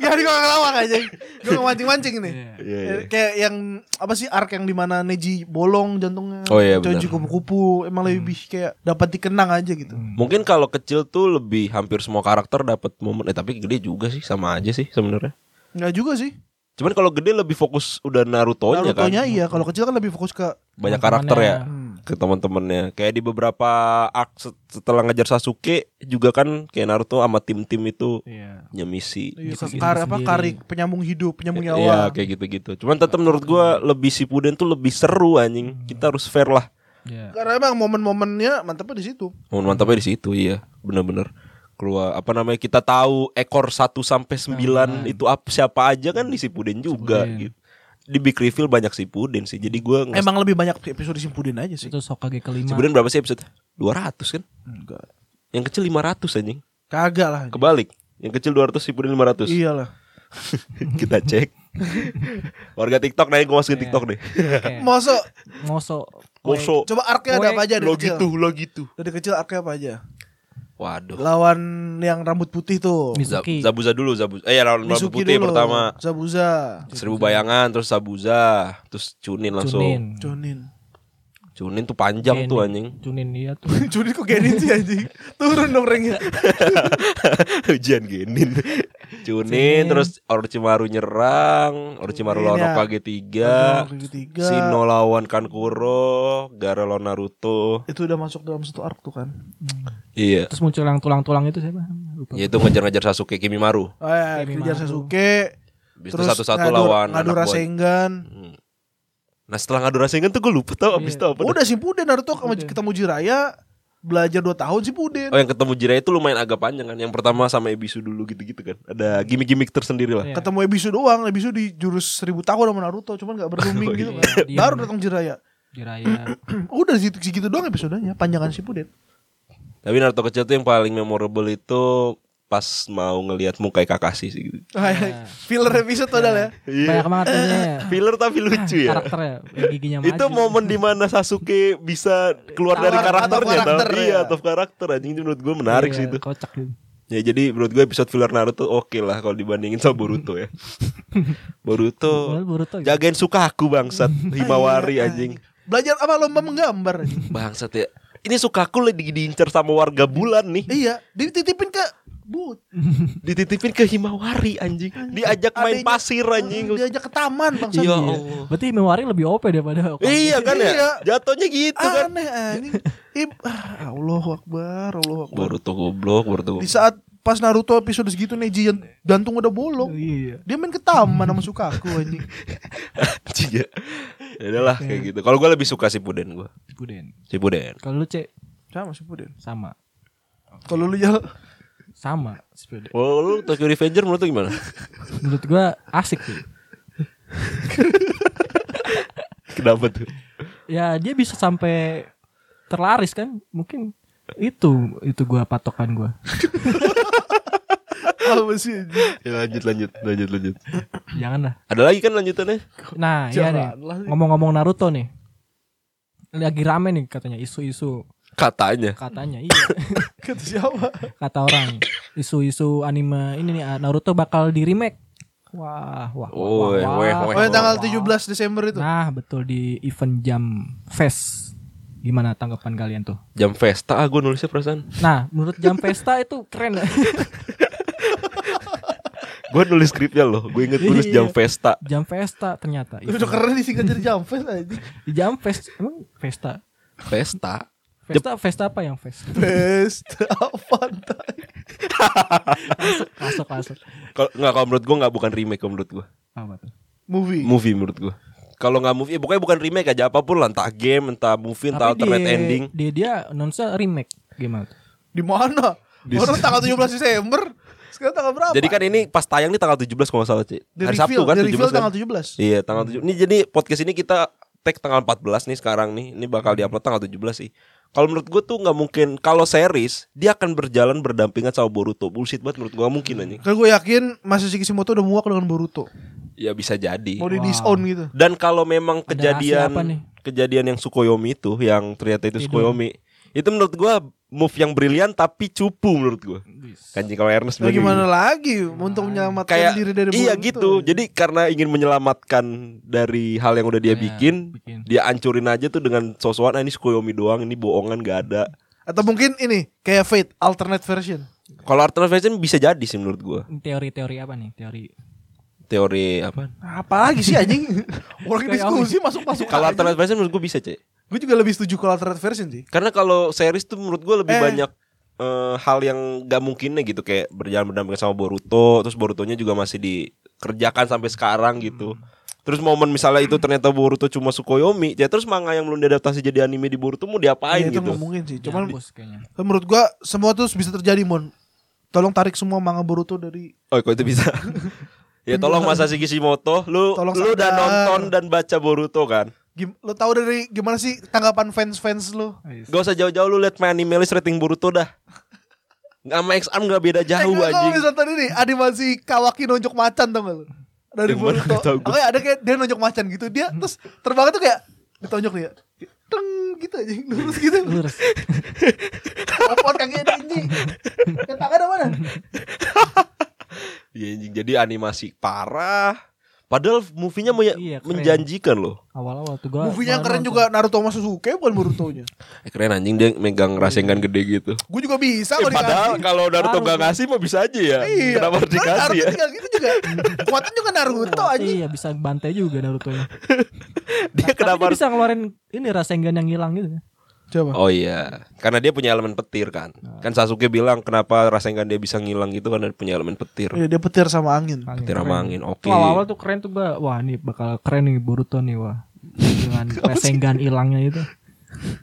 S3: Ya, ini kok ngelawak aja. Gue mancing-mancing nih.
S1: Iya, iya.
S3: Eh, Kayak yang apa sih arc yang dimana Neji bolong jantungnya,
S1: Oh, iya, benar.
S3: Choji kupu-kupu, emang lebih kayak dapat dikenang aja gitu.
S1: Mungkin kalau kecil tuh lebih hampir semua karakter dapat momen eh tapi gede juga sih sama aja sih sebenarnya.
S3: Enggak juga sih.
S1: Cuman kalau gede lebih fokus udah Naruto-nya,
S3: Naruto-nya
S1: kan.
S3: iya, kalau kecil kan lebih fokus ke
S1: Banyak karakter ya
S3: Hmm.
S1: ke teman-temannya. Kayak di beberapa arc set- setelah ngejar Sasuke juga kan kayak Naruto sama tim-tim itu
S2: Iya
S1: nyemisi.
S3: iya, ke
S2: Gitu sih,
S3: kar
S2: gitu
S3: apa
S2: sendiri.
S3: karik penyambung hidup, penyambung
S1: Iya
S3: nyawa.
S1: kayak gitu-gitu. Cuman tetap menurut gua lebih Shippuden tuh lebih seru anjing. Kita harus fair lah.
S2: Iya
S3: Karena emang momen-momennya mantepnya di situ.
S1: Momen mantapnya di situ iya. Bener-bener keluar apa namanya kita tahu ekor 1 sampai 9 itu apa siapa aja kan di Shippuden juga
S2: Shippuden.
S1: gitu. Di Big Reveal banyak Shippuden sih. Jadi gua nge-
S3: Emang lebih banyak episode Simpudin aja sih.
S2: Itu Sokage kelima
S1: Shippuden berapa sih episode? 200 kan?
S3: Enggak.
S1: Yang kecil 500 anjing.
S3: Kagak lah.
S1: Kebalik. Yang kecil 200 Shippuden 500.
S3: Iyalah.
S1: kita cek. Warga TikTok naik gua
S3: Iya.
S1: masukin TikTok deh.
S2: Kayak
S3: Masa
S2: Moso
S1: Boso.
S3: coba arc-nya ada
S2: Weh,
S3: apa aja dari
S1: Lo
S3: kecil?
S1: gitu, lo gitu.
S3: Dari kecil arc-nya apa aja?
S1: Waduh.
S3: Lawan yang rambut putih tuh.
S2: Mizuki.
S1: Zab- Zabuza dulu, Zabuza. Eh ya lawan lawan
S3: Mizuki
S1: putih
S3: dulu,
S1: pertama.
S3: Zabuza,
S1: Seribu bayangan terus Sabuza, terus Chunin langsung. Chunin,
S2: Cunin
S3: Jonin.
S1: tuh panjang tuh anjing.
S2: Cunin iya tuh
S3: Judi kok genin sih anjing Turun dong ringnya
S1: Ujian genin. Chunin terus Orochimaru nyerang, Orochimaru
S3: Ini
S1: lawan
S3: ya.
S1: Hokage 3.
S3: Ketiga
S1: Shino lawan Kankuro, Gaara lawan Naruto.
S3: Itu udah masuk dalam satu arc tuh kan
S1: Iya.
S2: Terus muncul yang tulang-tulang itu siapa? Lupa
S1: Yaitu Ya ngejar-ngejar Sasuke Kimimaru.
S3: Oh ya
S2: Kimimaru.
S3: kejar Sasuke
S1: Habis itu satu-satu
S3: ngadu-
S1: lawan
S3: Ngadu
S1: anak buah.
S3: Rasengan
S1: Hmm.
S2: Iya.
S1: Nah setelah ngadu Rasengan tuh gue kan lupa tau abis itu apa. dah.
S3: Udah Shippuden Naruto sama
S2: Udah.
S3: ketemu Jiraya belajar 2 tahun si Puden.
S1: Oh yang ketemu Jiraiya itu lumayan agak panjang kan Yang pertama sama Ebisu dulu gitu-gitu kan Ada gimmick-gimmick tersendiri lah
S2: Iya.
S3: Ketemu Ebisu doang, Ebisu di jurus 1000 tahun sama Naruto, cuman gak bertuming gitu kan.
S2: Iya,
S3: Baru
S2: diam.
S3: datang Jiraya.
S2: Jiraya.
S3: Udah di situ segitu doang episodenya, panjangan si Puden.
S1: Tapi Naruto kecil tuh yang paling memorable itu Pas mau ngelihat muka Kakashi sih gitu
S2: Ah.
S3: Filler
S2: Iya.
S3: episode padahal ya.
S2: Banyak banget ini ya.
S1: Filler tapi lucu ya
S2: Karakternya giginya maju.
S1: Iya. itu momen dimana Sasuke bisa keluar dari
S3: Out of
S1: karakternya tau?
S3: karakter,
S1: Iya,
S3: ya.
S1: out of karakter anjing itu menurut gue menarik
S2: Iya,
S1: sih itu.
S2: Kocak gitu.
S1: Ya jadi menurut gue episode filler Naruto oke lah kalau dibandingin sama Boruto ya. Boruto
S2: Padahal Boruto gitu. Iya,
S1: jagain Sukaku bangsat Himawari anjing.
S3: Belajar apa lomba menggambar. anjing.
S1: Bangsat ya. Ini Sukaku lagi diincar sama warga bulan nih.
S3: iya, dititipin ke but.
S1: Dititipin ke Himawari anjing. Diajak main
S3: Adanya-
S1: pasir anjing.
S3: Hmm, Diajak ke taman bangsa.
S1: Iya.
S2: Iya. Berarti Mewari lebih OP daripada Okage.
S1: Iya kan
S3: Iya.
S1: ya? Jatuhnya gitu
S2: Ah.
S1: kan.
S3: Aneh anjing. Ib, ah, Allah Akbar, Allah Akbar.
S1: Boruto goblok, Boruto
S3: Di
S1: goblok.
S3: saat pas Naruto episode segitu Neji yang jantung udah bolong.
S2: Iya.
S3: Dia main ke taman sama Sukaku anjing.
S1: Anjing ya. Ya udahlah kayak gitu. Kalau gue lebih suka si Puden gue.
S2: Buden.
S1: Si Puden.
S2: Kalau lu cek
S3: Sama si Puden.
S2: sama.
S3: Kalau lu ya
S2: Sama Spuden.
S1: Oh, lu Tokyo Revenger menurut lu gimana?
S2: Menurut gua asik sih.
S1: Kenapa tuh?
S2: Ya dia bisa sampai terlaris kan? Mungkin itu itu gua patokan gua.
S3: apa sih? anjing?
S1: Ya lanjut lanjut lanjut lanjut.
S2: Jangan lah.
S1: Ada lagi kan lanjutannya?
S2: Nah, iya nih.
S3: Janganlah.
S2: Ngomong-ngomong Naruto nih. Lagi rame nih katanya isu-isu
S1: Katanya.
S2: katanya iya.
S3: Kata siapa?
S2: kata orang isu-isu anime ini nih Naruto bakal di remake wah wah wah, wah,
S1: Weh,
S2: wah.
S1: weh, weh.
S3: Oh, yang tanggal 17 Desember itu.
S2: nah betul di event jam fest gimana tanggapan kalian tuh
S1: Jam Festa ah gue nulisnya perasaan.
S2: nah menurut jam pesta itu keren
S1: Gue nulis skripnya loh. Gue inget nulis
S2: Iya.
S1: Jam Festa.
S2: jam pesta ternyata
S3: Udah
S2: event.
S3: keren disingkat jadi Jamfest anjing.
S2: di jam fest emang pesta
S1: Festa.
S2: Festa, festa apa yang fest?
S3: Best apa entah.
S2: Masuk, masuk.
S1: Kalau nggak kalau menurut gue nggak bukan remake kalau menurut gue.
S2: Apa tuh?
S3: Movie.
S1: Movie menurut gue. Kalau nggak movie, ya pokoknya bukan remake aja apapun lah, entah game, entah movie, entah
S2: Tapi
S1: alternate
S2: di-
S1: ending.
S2: Di dia announce-nya remake gimana tuh?
S3: Di mana? Baru tanggal 17 Desember. Sekarang tanggal berapa?
S1: Jadi kan ini pas tayang nih tanggal 17 kalau nggak salah, Ci.
S3: di
S1: Hari
S3: reveal,
S1: Sabtu kan
S3: di reveal
S1: 17 kan?
S3: tanggal 17.
S1: Iya tanggal 7 Ini jadi podcast ini kita tag tanggal 14 nih sekarang nih Ini bakal diupload tanggal 17 sih Kalau menurut gue tuh nggak mungkin Kalau series Dia akan berjalan berdampingan sama Boruto Bullshit banget menurut gue nggak mungkin anjing
S3: Kan gue yakin Masasi Kishimoto udah muak dengan Boruto.
S1: Ya bisa jadi
S3: Mau di
S2: Wow.
S3: disown gitu.
S1: Dan kalau memang
S2: Ada
S1: kejadian
S2: rahasia apa nih?
S1: Kejadian yang Sukoyomi itu Yang ternyata itu
S2: Tidur.
S1: Sukoyomi Itu menurut gue move yang brilian tapi cupu menurut gue Kanji kalau Ernest
S3: Nah,
S1: bilang
S3: gimana lagi untuk menyelamatkan
S1: kayak
S3: diri dari
S1: iya
S3: Boruto?
S1: gitu jadi karena ingin menyelamatkan dari hal yang udah dia
S2: Ya,
S1: bikin,
S2: bikin.
S1: dia ancurin aja tuh dengan sosokan ah, ini Sukoyomi doang ini bohongan gak ada
S3: Atau mungkin ini kayak Fate alternate version.
S1: kalau alternate version bisa jadi sih menurut gua
S2: Teori-teori apa nih? Teori
S1: teori apa
S3: Apa lagi sih anjing? Orang
S2: Kayak
S3: diskusi masuk-masuk.
S1: kalau
S3: aja.
S1: alternate version menurut gua bisa cek
S3: gue juga lebih setuju kalau alternate version sih.
S1: karena kalau series tuh menurut gua lebih
S3: Eh.
S1: banyak eh, hal yang gak mungkinnya gitu kayak berjalan berdampingan sama Boruto terus Borutonya juga masih dikerjakan sampai sekarang gitu Terus momen misalnya itu ternyata Boruto cuma Sukoyomi, ya terus manga yang belum diadaptasi jadi anime di Boruto mau diapain
S3: Ya, itu
S1: gitu.
S3: nggak mungkin sih. Cuman
S2: Cuman kayaknya.
S3: menurut gua semua tuh bisa terjadi mon. Tolong tarik semua manga Boruto dari
S1: Oh, kok itu bisa? ya tolong Masashi Kishimoto, lu
S3: Tolong
S1: lu udah
S3: sadar.
S1: nonton dan baca Boruto kan?
S3: gim- lo tahu dari gimana sih tanggapan fans-fans lo?
S1: Gak usah jauh-jauh lu lihat main anime list rating Boruto dah. Nggak sama X Arm gak beda jauh
S3: Eh, Kalau
S1: anjing.
S3: misalnya tadi nih animasi Kawaki nonjok macan tau gak lu? Dari
S1: Yang mana
S3: Boruto.
S1: nggak tahu gua. Hmm.
S3: Oke ada kayak dia nonjok macan gitu dia terus terbangnya tuh kayak ditonjok nih ya. Teng gitu aja lurus gitu.
S2: Lurus.
S3: Opor kakinya tinggi. Ke tangan mana?
S1: Iya anjing, jadi animasi parah. Padahal movie-nya menye-
S2: Iya, keren.
S1: menjanjikan loh.
S2: Awal-awal tuh gua
S3: Movie-nya yang
S2: malah
S3: keren
S2: nonton.
S3: juga Naruto sama Sasuke bukan Borutonya.
S1: Eh, keren anjing dia megang rasengan gede gitu.
S3: Gue juga bisa
S1: Eh,
S3: kalau
S1: padahal
S3: dikasih.
S1: kalau Naruto
S2: Harus.
S1: gak ngasih mah bisa aja ya.
S3: Iya.
S1: Kenapa harus
S3: Padahal
S1: dikasih
S3: Naruto
S1: ya?
S3: tinggal gitu juga. Kuatnya juga Naruto
S2: Wah,
S3: aja.
S2: Iya bisa bantai juga Naruto-nya.
S1: Dia kenapa
S2: Tapi dia
S1: harus
S2: bisa ngeluarin ini Rasengan yang hilang gitu.
S3: Coba.
S1: Oh iya, karena dia punya elemen petir kan.
S3: Ah.
S1: Kan Sasuke bilang kenapa Rasengan dia bisa ngilang gitu karena dia punya elemen petir.
S3: Iya, dia petir sama angin.
S1: Petir sama angin. Oke.
S2: Tuh awal-awal tuh keren tuh gua. Wah, ini bakal keren nih Boruto nih wah. Dengan Rasengan hilangnya itu.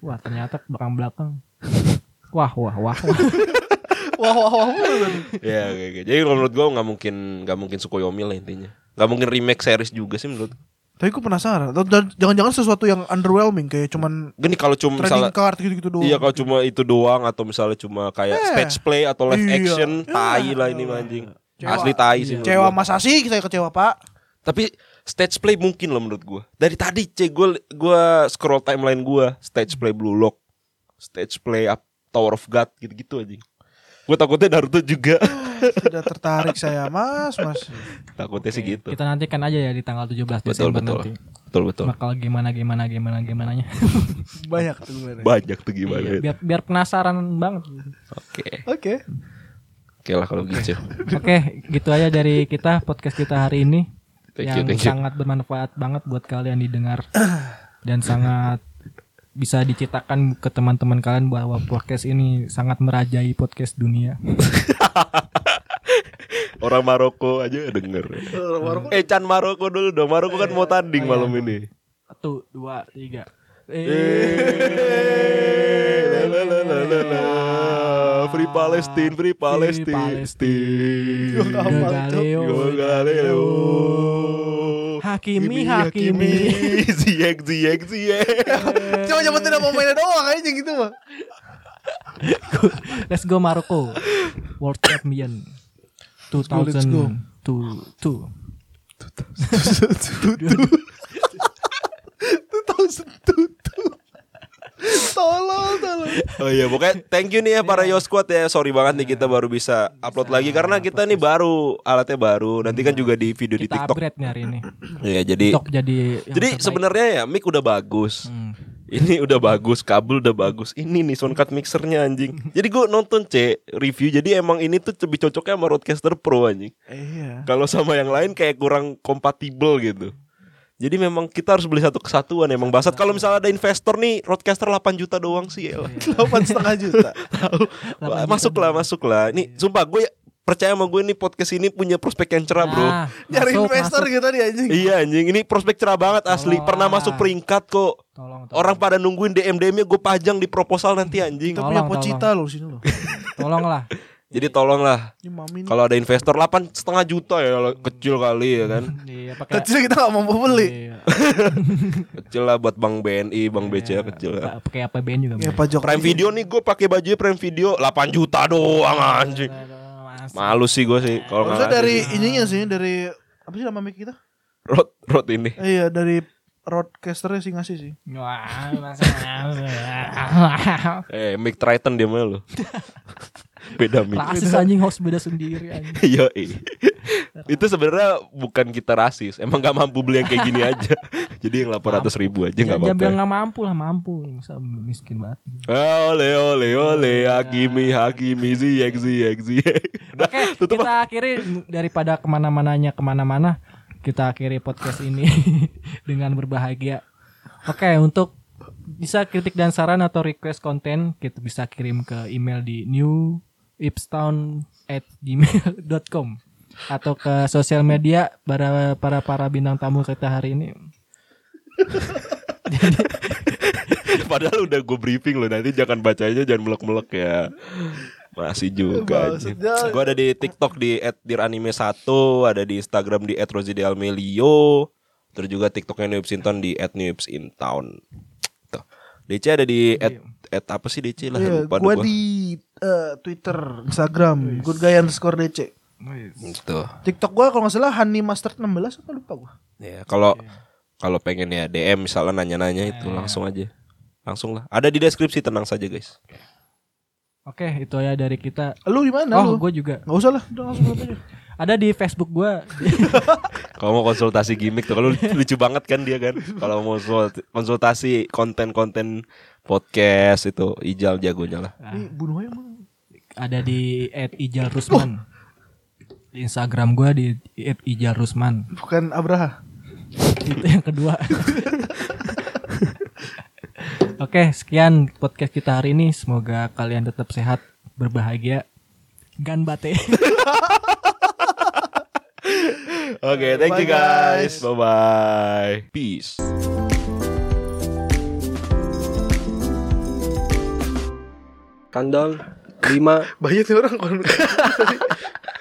S2: Wah, ternyata belakang-belakang wah wah wah.
S3: Wah wah wah. mulu tuh.
S1: ya oke oke. Jadi kalau menurut gua nggak mungkin nggak mungkin Sukoyomi lah intinya. Nggak mungkin remake series juga sih menurut.
S3: Tapi gue penasaran. Atau jan- Jangan-jangan sesuatu yang underwhelming kayak cuman
S1: Gini kalau cuma
S3: trading
S1: misalnya
S3: card gitu-gitu doang.
S1: Iya kalau cuma itu doang atau misalnya cuma kayak
S3: Eh.
S1: stage play atau live
S3: Iya.
S1: action
S3: Iya.
S1: tai lah ini mah, anjing.
S3: Cewa. Iya.
S1: Asli tai sih. menurut
S3: Kecewa
S1: gua.
S3: Mas Asi, saya kecewa Pak.
S1: Tapi stage play mungkin loh menurut gua. Dari tadi C gua gua scroll timeline gua, stage play Blue Lock, stage play up Tower of God gitu-gitu anjing. Gua takutnya Naruto juga.
S3: Tidak tertarik saya Mas, Mas.
S1: takutnya sih gitu.
S2: Kita nantikan aja ya di tanggal 17
S1: Betul
S2: Desember
S1: betul.
S2: nanti.
S1: Betul betul.
S2: Bakal gimana gimana gimana gimana nya.
S3: Banyak tuh sebenarnya.
S1: Banyak tuh gimana.
S2: Iya,
S1: ya.
S2: biar biar penasaran banget.
S1: Oke.
S3: Oke.
S1: Oke lah kalau gitu.
S2: Oke, gitu aja dari kita podcast kita hari ini
S1: Thank you,
S2: yang
S1: thank you.
S2: sangat bermanfaat banget buat kalian didengar dan sangat bisa diceritakan ke teman-teman kalian bahwa podcast ini sangat merajai podcast dunia.
S1: Orang Maroko aja denger. Eh Chan Maroko dulu dong. Maroko kan mau tanding malam ini.
S2: Satu, dua, tiga.
S1: Eh, la, la, la, la, la, la. Free Palestine, Free Palestine.
S2: The Galileo.
S1: Yo, Galileo.
S2: Hakimi,
S1: Ini
S2: Hakimi.
S1: Ziyech, Ziyech, Ziyech.
S2: Eh.
S3: Cuma nyebutin nama mainnya doang kayaknya gitu, Pak.
S2: Let's go Maroko. World Champion
S3: go, let's go.
S2: 2002.
S3: Tutu. Tutu tutu. Tolong, tolong.
S1: Oh iya, pokoknya thank you nih ya para Yo
S2: Iya.
S1: Squad ya. Sorry banget nih kita baru bisa upload lagi karena kita nih baru alatnya baru. Nanti kan juga di video di
S2: Iya. Kita
S1: TikTok.
S2: upgrade nih hari ini.
S1: Iya, jadi
S2: TikTok jadi yang
S1: jadi
S2: terbaik.
S1: sebenarnya ya mic udah bagus.
S2: Hmm.
S1: Ini udah bagus, kabel udah bagus. Ini nih soundcard mixernya anjing. Jadi gue nonton C review. Jadi emang ini tuh lebih cocoknya sama Roadcaster Pro anjing.
S3: Iya.
S1: Kalau sama yang lain kayak kurang kompatibel gitu. Jadi memang kita harus beli satu kesatuan emang Basat. Kalau misalnya ada investor nih, Roadcaster 8 juta doang sih ya.
S3: Delapan setengah juta.
S1: Wah, masuklah, masuklah. Ini sumpah gue percaya sama gue nih podcast ini punya prospek yang cerah, Bro.
S2: Nah,
S3: Nyari
S2: masuk,
S3: investor
S2: masuk.
S3: gitu tadi anjing.
S1: Iya anjing, ini prospek cerah banget asli.
S2: Tolong
S1: Pernah
S2: lah.
S1: masuk peringkat kok.
S2: Tolong, tolong.
S1: Orang pada nungguin DM-DM-nya gue pajang di proposal nanti anjing.
S3: Kita punya
S2: Tolong,
S3: pocita loh sini loh.
S2: Tolong lah.
S1: Jadi tolonglah
S3: Ini mami nih.
S1: kalau ada investor 8 setengah juta ya kalau kecil kali ya kan.
S2: Iya, pakai
S3: Kecil kita gak mampu beli.
S2: Iya.
S1: Kecil lah buat Bank BNI, Bank BCA kecil lah.
S2: Pa- Pakai apa BN juga.
S3: Ya
S2: boleh.
S3: Pak Jokowi.
S1: Prime Video nih gue pakai baju Prime Video 8 juta doang anjing.
S2: Masuk.
S1: Malu sih gue sih kalau
S3: Harusnya
S1: nggak
S3: dari ininya sih dari apa sih nama mic kita?
S1: road road ini.
S3: Eh, Iya dari roadcasternya sih ngasih sih.
S2: Wah, masuk, masuk.
S1: Eh, Mick Triton dia mah lu. Beda mic.
S2: Rasis anjing host beda sendiri anjing.
S1: Iya. Itu sebenarnya bukan kita rasis, emang gak mampu beli yang kayak gini aja. Jadi yang 800 ribu aja nggak
S2: Jangan bilang
S1: apa-apa. ya?
S2: nggak mampu lah, mampu. Masa miskin banget.
S1: Ole ole ole Hakimi Hakimi Ziyech Ziyech Ziyech. Udah,
S2: Oke,
S1: tutup
S2: kita akhiri daripada kemana-mananya kemana-mana, kita akhiri podcast ini dengan berbahagia. Oke, untuk bisa kritik dan saran atau request konten, kita bisa kirim ke email di newipstown@gmail.com atau ke sosial media para para para bintang tamu kita hari ini.
S1: Padahal udah gue briefing loh nanti jangan bacanya jangan melek-melek ya. Masih juga. anjing.
S3: Maksudnya-
S1: Gue ada di TikTok di @diranime1, ada di Instagram di @rosidelmelio, terus juga TikToknya New Sinton di @newipsintown. Tuh. DC ada di at, at apa sih DC lah
S3: Iya,
S1: lupa
S3: gua
S1: deh gua.
S3: di eh, Twitter, Instagram, good guy underscore DC.
S1: Gitu.
S3: TikTok gua kalau nggak salah Hani Master 16 apa lupa gua.
S1: Ya, kalau
S3: Iya.
S1: kalau pengen ya DM misalnya nanya-nanya itu langsung aja. Langsung lah. Ada di deskripsi tenang saja guys.
S2: Oke, itu ya dari kita.
S3: Lu di mana
S2: Oh,
S3: lu?
S2: gue juga.
S3: Gak usah lah, udah langsung lihat aja.
S2: Ada di Facebook gue.
S1: Kalau mau konsultasi gimmick tuh kalau lucu banget kan dia kan. Kalau mau sol- konsultasi konten-konten podcast itu Ijal jagonya lah.
S3: Ini bunuh aja mana?
S2: ada di @ijalrusman. Di Instagram gua di @ijalrusman.
S3: Bukan Abraha.
S2: Itu yang kedua. Oke, sekian podcast kita hari ini. Semoga kalian tetap sehat, berbahagia. Gan bate.
S1: Oke, thank you
S3: Bye, guys.
S1: guys. Bye bye. Peace.
S4: Kandang, lima,
S1: Banyak nih orang kalau